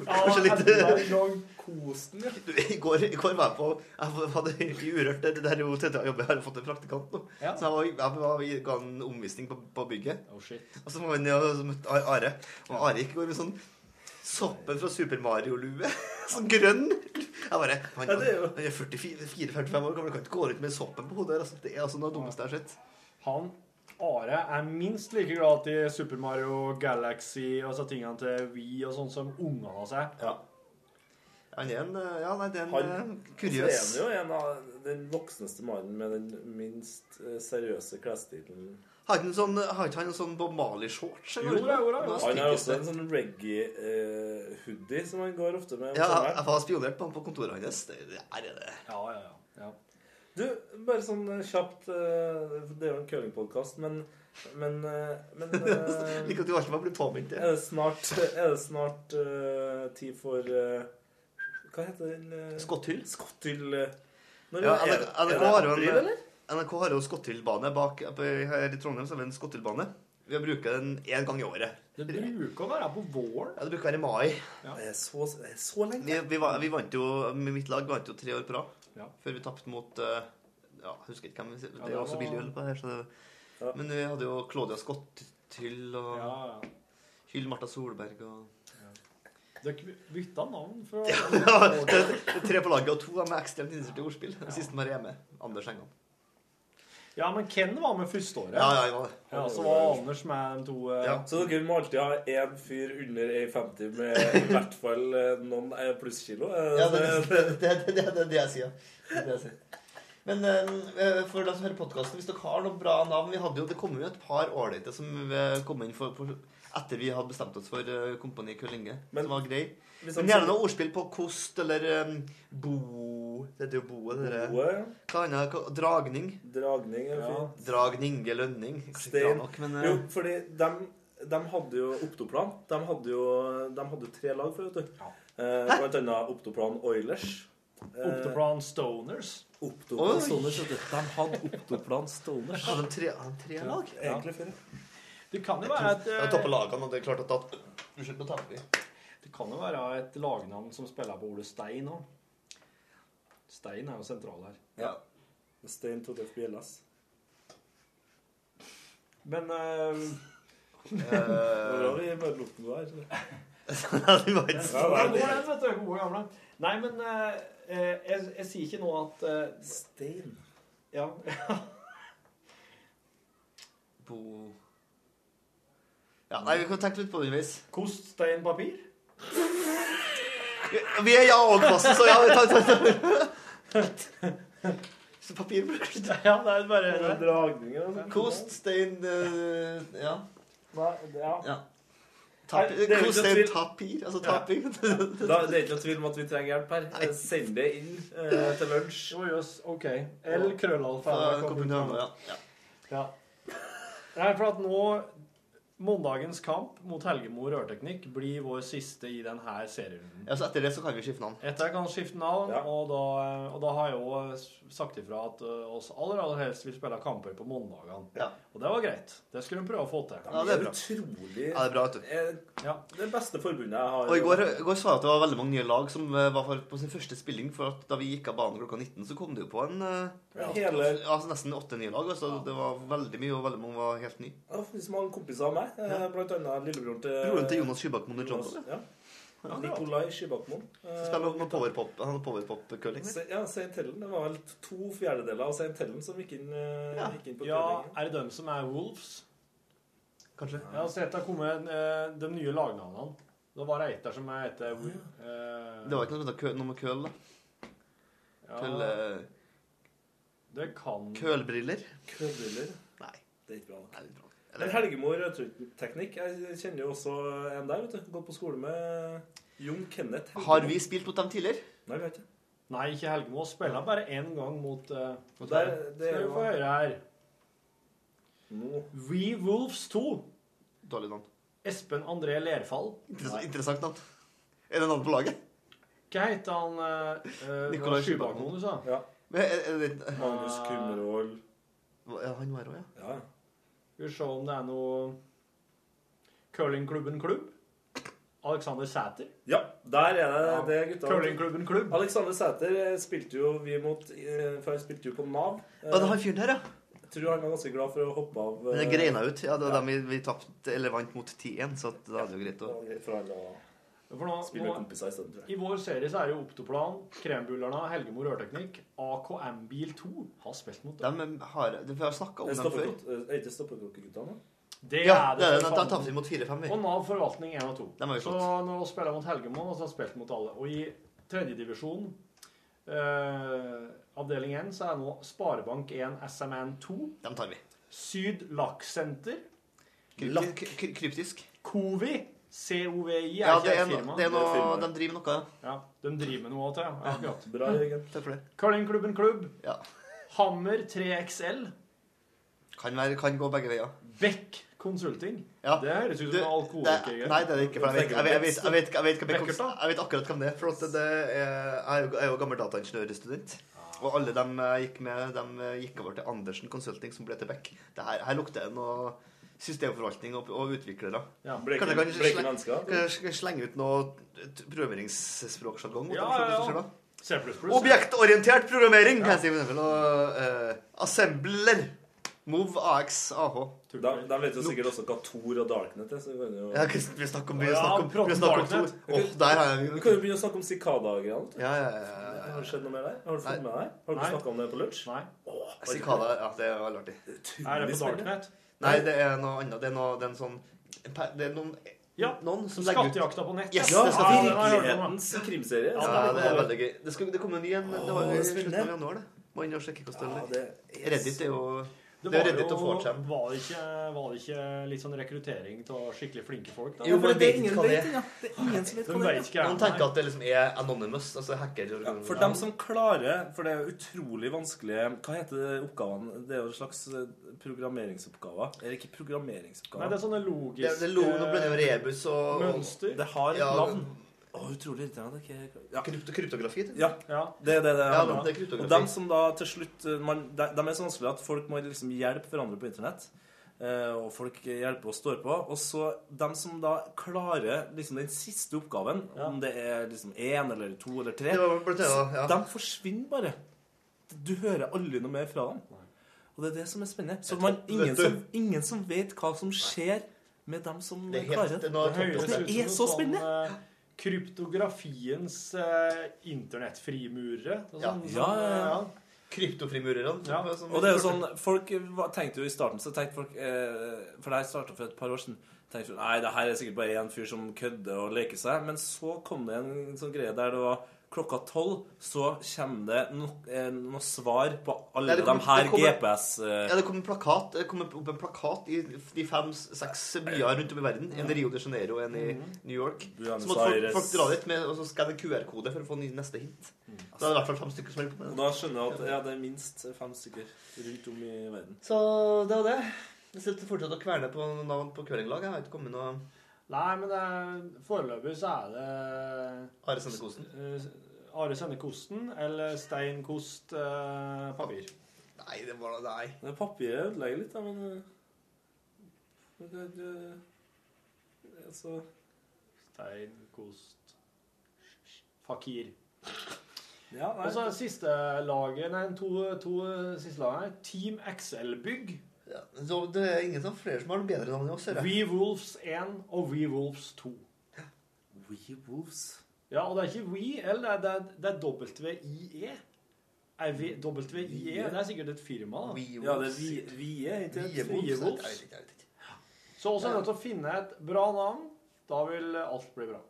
A: Kanskje
B: litt-
C: Kosten, ja.
B: Du, I går, i går var jeg på Jeg hadde i Urørt det der er jo tredje jobben jeg har fått en praktikant nå.
A: Ja.
B: Så jeg, var, jeg var, jeg ga en omvisning på, på bygget.
A: Oh, shit.
B: Og så var jeg ned og møtte Ar- Are. Og Are gikk i går med sånn soppen fra Super Mario-lue. Sånn grønn. Jeg bare Han,
C: Ja, det er jo-
B: han er 44-45 år gammel, kan ikke gå rundt med soppen på hodet. her, Altså, det er altså noe av det dummeste jeg har sett.
A: Han Are er minst like glad i Super Mario Galaxy og så tingene til Wii og sånn som ungene hans er.
B: Ja. Han er en eh, Ja, nei, det er en
C: Han-
B: eh,
C: Så er han
B: kuriøs
C: jo en av den voksneste mannen med den minst eh, seriøse klesstilen
B: Har ikke han sånn, har ikke han en sånn Bob Marley-shorts? eller
A: Jo da, jo da, jo da.
B: noe?
C: Han har også
B: Stikkeste.
C: en sånn reggae-hoodie som han går ofte med.
B: Ja,
C: om
B: jeg,
C: sommeren.
B: jeg har spionert på han på kontoret hans. Det, det er det.
A: Ja, ja, ja. ja.
C: Du, bare sånn eh, kjapt eh, Det er jo en curlingpodkast, men Men, eh, men eh,
B: Like at du alltid må bli påminnet det.
C: er det snart, er det snart eh, tid for eh, Hva heter den? eh,
B: Skotthyll?
C: Skotthyll eh, når
B: Ja,
C: er-
B: NRK,
C: er det
B: har jo
C: april,
B: en, eh,
C: eller?
B: NRK har jo skotthyllbane bak Her i Trondheim så har vi en skotthyllbane. Vi bruker den én gang i året.
A: Det bruker å være på våren.
B: Ja, det bruker å være i mai.
C: Det er så, det er så lenge.
B: Vi, vi, var- vi vant jo, med mitt lag vant jo tre år på rad.
A: Ja.
B: Før vi tapte mot eh, Ja, jeg husker ikke hvem vi Det
A: det
B: er jo også
A: var-
B: billig øl på her, så det
C: Ja.
B: Men vi hadde jo Claudia Skotthyll og
A: Ja, ja.
B: Hyll Martha Solberg og
A: Dere bytta navn fra
B: Det er Tre på laget og to er med ekstremt interessert i ordspill. Den siste var hjemme. Anders Engan.
A: Ja, men Ken var med første året.
B: Ja, ja, jeg var det.
A: Ja, så var Anders med de to eh,
B: Ja.
C: Så dere må alltid ha én fyr under 1,50 med i hvert fall eh, noen eh, plusskilo? eh,
B: Ja, det liksom- det-
C: det-
B: det- det- det- det er det jeg sier. Det er det jeg sier. Men eh, for dere som hører podkasten, hvis dere har noen bra navn vi hadde jo, Det kom jo et par ålreite som eh, kom inn for, for, etter vi hadde bestemt oss for eh, Kompani Køllinge.
C: Men-
B: som var grei.
C: Hvis
B: Men
C: han-
B: gjerne noe ordspill på kost eller eh, bo Det heter jo boe. det der.
C: Boe,
B: Hva annet? Hva- Dragning.
C: Dragning er
A: Ja.
C: fint.
B: Drag Ninge Lønning. Kanskje ikke
C: Stein.
B: bra nok, men eh,
C: Jo, fordi de, hadde jo Optoplan. De hadde jo, de hadde jo tre lag før, vet du.
A: Ja.
C: Eh, blant annet Optoplan Oilers. Eh,
A: Optoplan Stoners.
C: Optoplan
B: Oi!
C: Stoners, vet du. De hadde Optoplan Stoners.
B: Hadde de tre, hadde de tre lag?
C: Egentlig før. ja.
A: Det kan jo være et,
B: Det var
A: eh,
B: toppe lagene, og det er klart at da Unnskyld, nå taper vi.
A: det kan jo være et lagnavn som spiller på ordet stein òg. Stein er jo sentral her.
B: Ja.
C: Stein Torleif Bjellas.
A: Men eh,
C: Hvor
B: Eh,
C: har vi bare lukten du har?
B: det var ikke
C: Ja,
B: så-
A: Ja, det
C: det er det.
A: går den, vet du. Gode gamle. Nei, men eh, eh, jeg, jeg sier ikke nå at eh,
C: Stein.
A: Ja.
B: Bo Ja, nei, vi kan tenke litt på det underveis.
A: Kost, stein, papir?
B: Vi vi er ja og-klassen, så ja, vi tar, tar, tar. Så papir bruker du
A: Ja, det er bare
C: Dragninger og sånn.
B: Kost, stein eh, Ja.
C: Nei, ja.
B: ja. Tap,
C: Nei, det er jo ikke
B: kost, stein,
C: tvil.
B: tapir. Altså tapir.
C: Da, det er ikke noe tvil om at vi trenger hjelp her. Eh, Send det inn eh, til lunsj.
A: Jo, jøss. OK. L krøllalfa.
B: Ja, Kopenhagen, ja. Ja.
A: Ja. Nei, for at nå Mandagens kamp mot Helgemo rørteknikk blir vår siste i denne serierunden.
B: Ja, så etter det så kan vi skifte navn.
A: Etter kan skifte navn,
C: Ja.
A: og, da, og da har jeg jo sagt ifra at eh, oss aller, aller helst vil spille kamper på mandagene.
B: Ja.
A: Og det var greit. Det skulle de prøve å få til.
B: Ja, det er bra.
C: Utrolig
B: Ja, det er bra, vet du.
C: Eh,
A: Ja.
C: Det beste forbundet jeg har
B: Og i går, i går sa jeg at det var veldig mange nye lag som eh, var for- på sin første spilling. For at da vi gikk av banen klokka 19, så kom det jo på en eh,
C: Hele
B: altså nesten åtte nye lag. Altså, det var veldig mye, og veldig mange var helt nye.
C: Ja, faktisk mange kompiser av meg. eh, Blant annet lillebroren til
B: Broren til Jonas Skybakmoen i Trondheim.
C: Ja. Nikolai Skybakmoen. Eh,
B: Spiller med powerpop, han har powerpop-curling.
C: Se- Eh, Ja, Saint Helen. Det var vel to fjerdedeler av Saint Helen som gikk inn, eh,
B: Ja.
C: gikk inn på
A: ja,
C: treningen.
A: er det dem som er Wolves?
B: Kanskje.
A: Jeg har sett det har kommet eh, de nye lagnavnene. Det var det et der som jeg heter Wo- eh,
B: Det var ikke noe som het kø- noe med køl, da. Køl,
A: ja,
B: eh,
A: Det kan
B: kølbriller.
C: Køddeler.
B: Nei.
C: Det er ikke bra. da.
B: Nei, det er bra.
C: Men
B: Eller,
C: Helgemor Rødteknikk Jeg kjenner jo også eh, en der, vet du. Gått på skole med Jon Kenneth Helgemor.
B: har vi spilt mot dem tidligere?
C: Nei, vi har ikke.
A: Nei, ikke Helgemo. Spiller bare én gang mot eh,
C: Og Der, det er
A: Skal vi få
C: jo
A: høre her.
C: Nå.
A: We Wolves 2.
B: Dårlig navn.
A: Espen André Lerfall.
B: Interess- Interessant navn. Er det navn på laget?
A: Hva heter han uh,
B: Nikolai
A: Skybakmoen du sa?
C: Ja.
B: Men er, er det, eh,
C: Magnus Kummervoll.
B: ja, han var òg, ja.
C: Ja.
A: Skal vi se om det er noe Curlingklubben Klubb? Alexander Sæter?
C: ja. Der er det, det er gutta.
A: Curlingklubben Klubb.
C: Alexander Sæter eh, spilte jo vi mot eh, For han spilte jo på Nav. Eh,
B: Å, det er han fyren her, ja.
C: Jeg tror han var ganske glad for å hoppe av
B: Men
C: eh,
B: det greina ut. Ja, det var dem vi, vi tapte eller vant mot 10-1, så at da er det jo greit å
C: For eh, han å
A: For nå,
C: spille
A: nå
C: med kompiser i stedet, tror jeg.
A: I vår serie så er det jo Optoplan, Krembullerne, Helgemo Rørteknikk, AKM Bil 2 har spilt mot dem.
B: dem eh, har, Vi har snakka om
C: Det
B: dem
C: stopper
B: før.
C: godt. Eh, Er ikke stoppeklokkeguttene? da?
A: Det
B: Ja,
A: er
B: det
A: det.
B: er
A: for
B: det. Da
A: faen.
B: tapte vi mot 4-5, vi.
A: og Nav Forvaltning 1 og 2.
B: Dem har vi
A: Så
B: slått.
A: når vi spiller mot Helgemo, så har vi spilt mot alle. Og i tredjedivisjon, eh, avdeling 1, så er nå Sparebank 1 SMN 2,
B: Dem tar vi.
A: Syd Lakksenter,
B: Kry-
C: Lakk.
B: kry- kry- Kryptisk.
A: Covi, COVI,
B: Ja,
A: er
B: det
A: ikke
B: er,
A: et
B: no-
A: firma.
B: det er noe
C: firma.
B: De driver noe, ja.
A: Ja, de driver med noe av det, ja. ja. akkurat.
C: Bra, Jørgen.
B: Takk for det.
A: Curlingklubben Klubb,
B: Ja.
A: Hammer 3XL,
B: Kan, være, kan gå begge veier.
A: Beck Consulting.
B: Ja.
A: Det høres ut
B: Du,
A: som en
B: det- Nei,
A: alkoholikergreier.
B: det er det ikke. For jeg vet, jeg vet, jeg vet, jeg vet, jeg vet, hvem jeg, kom-
A: Beckerstad?
B: jeg vet akkurat hvem det er. For at det er, jeg er jo- jeg er jo gammel dataingeniørstudent.
A: Ah.
B: Og alle dem jeg gikk med, dem eh, gikk over til Andersen Consulting, som ble til Beck. Det her, her lukter det noe systemforvaltning og, og utviklere.
A: Ja.
C: Bleke,
B: Kan jeg- kan jeg-
C: bleke mennesker.
B: Kan jeg sl- slenge ut noe t- programmeringsspråksjargong?
A: Ja, ja, ja.
B: ja.
A: C++.
B: sånn, Objektorientert programmering, kan jeg si for eksempel. Og eh, assembler. Move, AX, AH.
C: De, de vet jo sikkert også hva Tor og Darknet er. Så vi kan jo
B: Ja, ikke sant, vi snakker om, vi
A: Ja,
B: snakker om, vi
A: Proton
B: snakker om
A: Darknet.
B: to. Åh, der har jeg
C: Vi kan jo begynne å snakke om sikada-greiene.
B: Ja, ja, ja, ja.
C: Har det skjedd noe mer der? Har du fått
B: Nei.
C: med deg? Har du
A: Nei.
C: snakka om det på lunsj?
A: Nei.
B: Sikada, ja, det er veldig artig.
A: Er det
C: Utrolig
A: på
C: spennende.
A: Darknet?
B: Nei, det er noe annet. Det er, noe, det er en sånn en per- Det er noen,
A: Ja.
B: noen som legger ut
A: Skattejakta på nett.
B: Yes,
A: ja,
B: det skal
A: ja,
B: vi-
A: den har jeg hørt om,
C: Virkelighetens krimserie.
A: Ja,
B: Ja,
C: altså.
B: det er veldig gøy. Det, skal, det kommer en ny en. Det var jo i
C: Åh, spennende.
B: slutten av januar, det. Må inn og sjekke hvordan
C: Ja,
B: det
C: det
B: er. Reddit er jo
A: Det
B: Det er jo
A: var
B: Reddit og
A: jo-
B: 4chan.
A: Var det ikke, var det ikke litt sånn rekruttering av skikkelig flinke folk? da?
B: Jo, men
C: det er
B: vet
C: ingen
B: hva det er.
C: vet, ja. Det er ingen som vet
A: Hun
C: hva det
A: vet
C: er.
A: ikke.
B: Noen tenker at det liksom er anonymous, altså hacker.
C: Ja,
A: Mm,
C: for dem som klarer For det er utrolig vanskelige Hva heter det oppgavene? Det er jo en slags eh, programmeringsoppgaver. Eller
A: Nei,
C: ikke
A: det
C: programmeringsoppgaver.
A: er sånne
B: det,
A: logiske
B: det lo, Nå ble det jo rebus og, og
A: mønster.
C: Det har et
B: Ja.
C: navn. Å, utrolig irriterende. Ikke, ja.
B: krypt, kryptografi. Det.
C: ja,
A: Ja.
C: det er det det
B: Ja,
C: handler om.
B: det er
C: Og dem
B: kryptografi.
C: som da til slutt eh, man, de, de er så vanskelige at folk må liksom hjelpe hverandre på internett. eh, Og folk hjelper og står på. Og så dem som da klarer liksom den siste oppgaven,
A: Ja.
C: om det er liksom én eller to eller tre,
B: Det var blant annet, ja.
C: de forsvinner bare. Du hører aldri noe mer fra dem. Og det er det som er spennende. Så
B: Jeg
C: man,
B: tror-
C: ingen,
B: vet du-
C: som, ingen som vet hva som skjer med dem som
B: Det er
C: klarer
B: helt
C: det.
B: det er noe
A: Det
B: topp-
A: høres
C: Det
A: ut som
C: er
A: noe
C: så spennende.
A: sånn, eh, Kryptografiens eh, internettfrimurere. og
B: Ja.
A: sånn-
C: Ja, ja, ja.
A: sånn,
B: Kryptofrimurerne.
A: Ja,
B: som-
C: Og det er jo sånn, folk var- tenkte jo i starten, så tenkte folk, eh, for det her startet for et par år siden, tenkte jo, nei, det her er sikkert bare en fyr som kødde og leker seg, men så kom det en sånn greie der det var klokka tolv, så kommer det no, eh, noe svar på alle
B: Nei, det kommer-
C: de her
B: det kommer-
C: GPS... Eh,
B: Ja, det kom en plakat, det kom opp en plakat i de fem-seks byer rundt om i verden. En i Rio de Janeiro og en i New York.
C: Mm. Buenos
B: Så måtte folk,
C: Aires.
B: folk dra dit med, og så skanne QR-kode for å få ny- neste hint.
C: Mm.
B: Da er det i hvert fall fem stykker som holder på med det.
C: og da skjønner jeg at ja, det er minst fem stykker rundt om i verden.
B: Så det var det. Jeg sitter fortsatt og kverner på navn på curlinglag. Jeg har ikke kommet noe
A: Nei, men det er, foreløpig så er det
B: Are Sende Kosen.
A: eh, Are Sende Kosten eller Stein Kost eh, Papir.
B: Nei, det var Nei.
C: Det papiret ødelegger litt, da, men... eh, men Det, det, altså,
A: Stein Kost Fakir.
C: ja, nei.
A: Og så er siste laget, nei, to, to siste lagene her. Team XL Bygg.
B: Ja, så det er ingen som flere som har noe bedre navn enn oss, hører jeg.
A: We Wolves 1 og We Wolves 2.
C: We Wolves.
A: Ja, og det er ikke We, eller det er, det er WIE. Er vi, WIE, det er sikkert et firma, da.
B: We
C: Ja, det er
B: Wolves.
C: vi, vi er ikke
B: Vi
C: det?
B: er Wolves.
A: Frie Wolves.
B: Jeg vet ikke, jeg vet ikke.
A: Så også er vi nødt til å finne et bra navn. Da vil alt bli bra.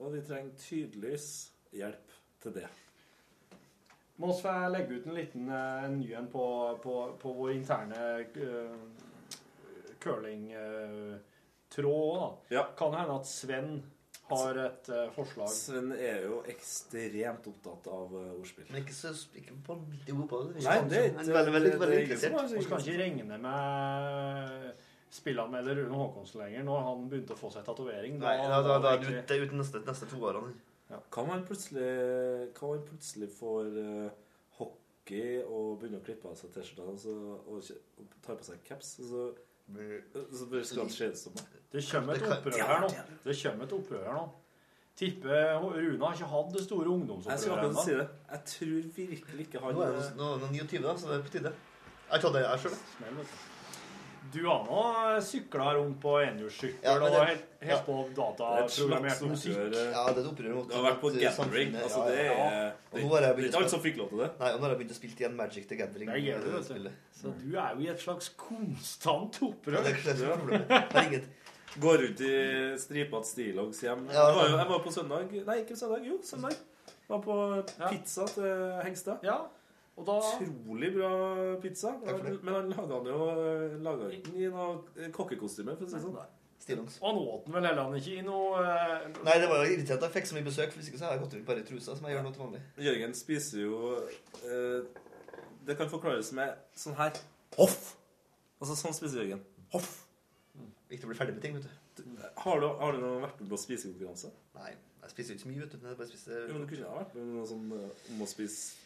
C: Og vi trenger tydeligvis hjelp til det.
A: Må også få legge ut en liten eh, en ny en på, på, på vår interne eh, curling-tråd òg, eh, da.
C: Ja.
A: Kan hende at Sven har et eh, forslag.
C: Sven er jo ekstremt opptatt av eh, ordspill.
B: Men ikke så ikke på midt i hodet.
C: Nei, det er ikke-
B: Han er veldig, veldig, veldig
C: det- det er ingen
B: interessert.
A: Vi skal ikke regne med spillanmelder Rune Håkonsen lenger når han begynte å få seg tatovering.
B: Nei, da, da, da, ut, det er uten neste, neste to årene.
C: Kan man plutselig, kan man plutselig få eh, hockey og begynne å klippe av seg T-skjortene så- og, kjø- og tar på seg caps, og så, så blir det skrevet skjedestomme?
A: Det kommer et
B: Det kan-
A: opprør her nå. Det kommer et opprør her nå. Tipper Rune har ikke hatt det store
C: Jeg skal akkurat
A: ungdomsopprøret
C: si
A: ennå.
C: det. Jeg tror virkelig ikke han
B: Nå er det, sånn- nå er det 29, da, så det er på tide. Jeg tar det jeg sjøl.
A: Smell, vet du. Du har nå sykla rundt på enhjulssykkel
B: Ja, men
A: og
B: det-
A: helt, helt
B: ja.
A: på
C: Det er et slags
A: dataprogrammert musikk.
C: oppgjør. eh,
B: sånn Ja, det er et opprør mot
C: Det har vært på
B: mot, eh,
C: gathering.
B: samfunnet.
C: Altså,
B: Ja,
C: det
B: ja.
C: er
B: Og nå har jeg
C: det er
B: begynt
C: ikke
B: å
C: alle som fikk lov til det.
B: Nei, og nå har jeg begynt å spille igjen Magic the Gathering. eh,
A: Det gjør du, vet du.
B: spillet.
A: Så du er jo i et slags konstant
B: Ja,
A: opprør.
B: det er ikke det som er problemet. Det er inget.
C: Går rundt i stripete stillongs hjem.
B: Ja.
C: Jeg, var jo, jeg var på søndag Nei, ikke søndag. Jo, søndag. Var på
A: Ja.
C: pizza til Hengstad.
A: Ja, og da
C: Utrolig bra pizza.
B: Takk for det.
C: Men han laga den jo eh, laget den i noe eh, kokkekostyme, for å si det sånn.
B: Stillongs.
A: Og han åt den vel heller han ikke i noe eh,
B: Nei, det var jo irriterende at jeg fikk så mye besøk, for hvis ikke så har jeg gått rundt bare i trusa, som jeg gjør nå til vanlig.
C: Jørgen spiser jo eh, Det kan forklares med sånn her Hoff! Altså sånn spiser Jørgen.
F: Off!
B: Viktig å bli ferdig med ting, vet du.
C: Har du, har du noen vært med på spisekonkurranse?
B: Nei, jeg spiser jo ikke så mye, vet du. men Jeg bare spiser
C: Jo, men du kunne ha vært med på noe sånn eh, om å spise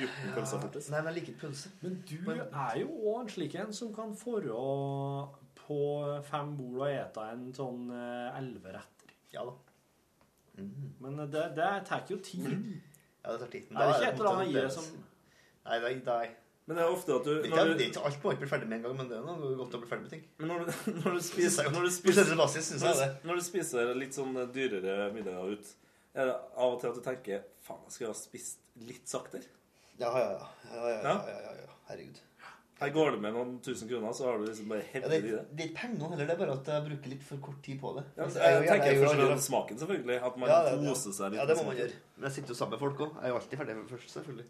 C: 14 pølser fortest.
B: Nei, men jeg liker ikke pølse.
A: Men du er jo òg en slik en som kan forå på fem bord og ete en sånn eh, elleve retter.
B: Ja da.
A: Men det, det tar jo tid.
B: Ja, det tar tid.
A: Er Mm. det ikke et eller annet i det som
B: Nei, nei, nei.
C: Men det er ofte at du
B: Det
C: når
B: er
C: du,
B: ikke alt man ikke blir ferdig med en gang, men det er noe godt å bli ferdig med ting.
C: men når du, når du
B: Synes jeg
C: spiser
B: jo.
C: Når du
B: På
C: spiser
B: generell basis synes jeg det.
C: Når du spiser litt sånn dyrere middager ut, er det av og til at du tenker Faen, jeg skulle ha spist litt saktere.
B: Ja, ja, ja. ja, ja, ja, ja, ja, ja. Herregud.
C: Her går det med noen tusen kroner, så har du liksom bare
B: Ja,
C: hevet
B: det,
C: i det.
B: det er ikke penger heller, det er bare at jeg bruker litt for kort tid på det.
C: Ja,
B: Altså,
C: jeg,
B: er jo-
C: tenker
B: er jo
C: først og
B: allerede-
C: fremst smaken, selvfølgelig. At man
B: Ja, det-
C: koser seg litt.
B: Ja, det må
C: med
B: man
C: smaken.
B: gjøre. Men jeg sitter jo sammen med folk òg. Jeg er jo alltid ferdig først, selvfølgelig.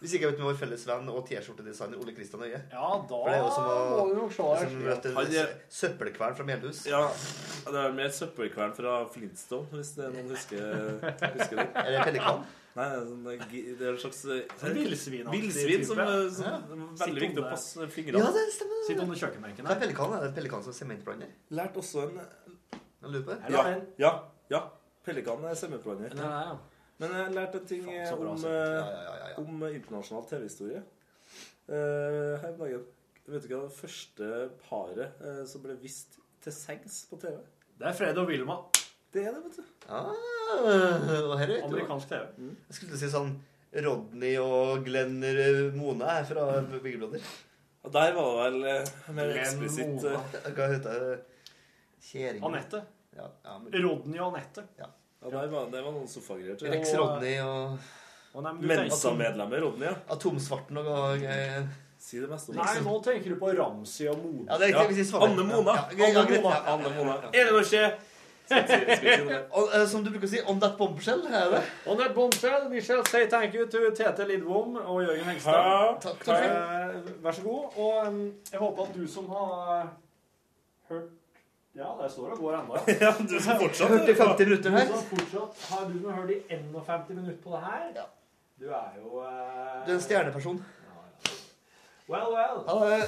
B: Hvis ikke jeg er ute med vår felles venn og T-skjortedesigner Ole Kristian Øie.
A: Ja, da
B: For det er jo som å-
A: må du nok se
B: Som
A: deg.
B: møter
C: Han er-
B: sø- søppelkvern fra Melhus.
C: Ja, det er mer søppelkvern fra Flintstone, hvis det er noen husker, husker det.
B: Eller Pelikan.
C: Nei, det er, sånn, eh, gi- det er en slags
A: Sånn villsvinaktig
C: Villsvin som,
A: type.
C: eh, som
B: Ja.
C: er
A: Sitter
C: veldig viktig
A: under-
C: å passe fingrene.
B: Ja, det stemmer.
A: Sitt
B: Det
A: under kjøkkenbenken
B: er
A: her.
B: pelikan, er det en pelikan som sementblander.
C: Lært også en
B: En lupe.
A: Her
C: Ja,
A: er den.
C: ja, ja. Pelikan er semmeblander.
A: Nei, nei, ja.
C: Men jeg har lært en ting
A: Faen, så bra,
C: om,
A: Sigurd.
B: Ja, ja,
C: eh,
B: ja, ja, ja.
C: om internasjonal TV-historie. Eh, her om dagen. Vet du hva det første paret eh, som ble vist til sengs på TV?
A: Det er Fred og Wilma.
C: Det er det, vet du.
B: Ah, og her er det jo-
A: Amerikansk TV.
B: Jeg skulle til å si sånn Rodney og Glenn R- Mona er fra Byggeblader.
C: Og der var det vel eh, mer
A: Glenn
C: eksplisitt
A: Mona.
C: eh,
B: Hva heter det? Kjæring
A: Anette.
B: eh, Ja, ja, men-
A: Rodney og Anette.
C: ja, der var, Det var noen sofagreier. tror jeg.
B: Rex Rodney og
A: Å, nei, men du tenker-
C: Mensa-medlemmer, Rodney. ja.
B: Atomsvarten og eh,
C: Si det meste om
A: Nei,
C: det.
A: nå tenker du på Ramsi og Mona.
B: Ja, det er
C: Ja,
B: riktig. vi sier Svaberg.
C: Anne Mona.
B: Ja, ja, ja,
C: Anne
B: greit,
C: Mona.
B: ja, ja, ja,
C: Anne Mona.
B: ja, ja.
C: Er det noe skje? Skal ikke si noe.
B: Og, eh, som du bruker å si, on that bombshell, er det?
A: On that bombshell, we shall say thank you to Tete Lidbom og Jørgen Hengstad.
C: Ja.
B: Takk. Torfinn.
A: Eh, vær så god. Og em, jeg håper at du som har eh, hørt Ja, der står det og går ennå. ja.
C: Ja, du som Eh, fortsatt
B: 40-50 minutter
A: Du
B: her.
A: som fortsatt har du som har hørt i 51 minutter på det her.
B: Ja.
A: Du er jo eh,
B: Du er en stjerneperson.
A: Well, well.
B: Ha det.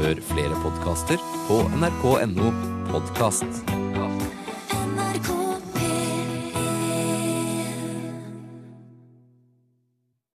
G: Hør flere podkaster på nrk.no podkast.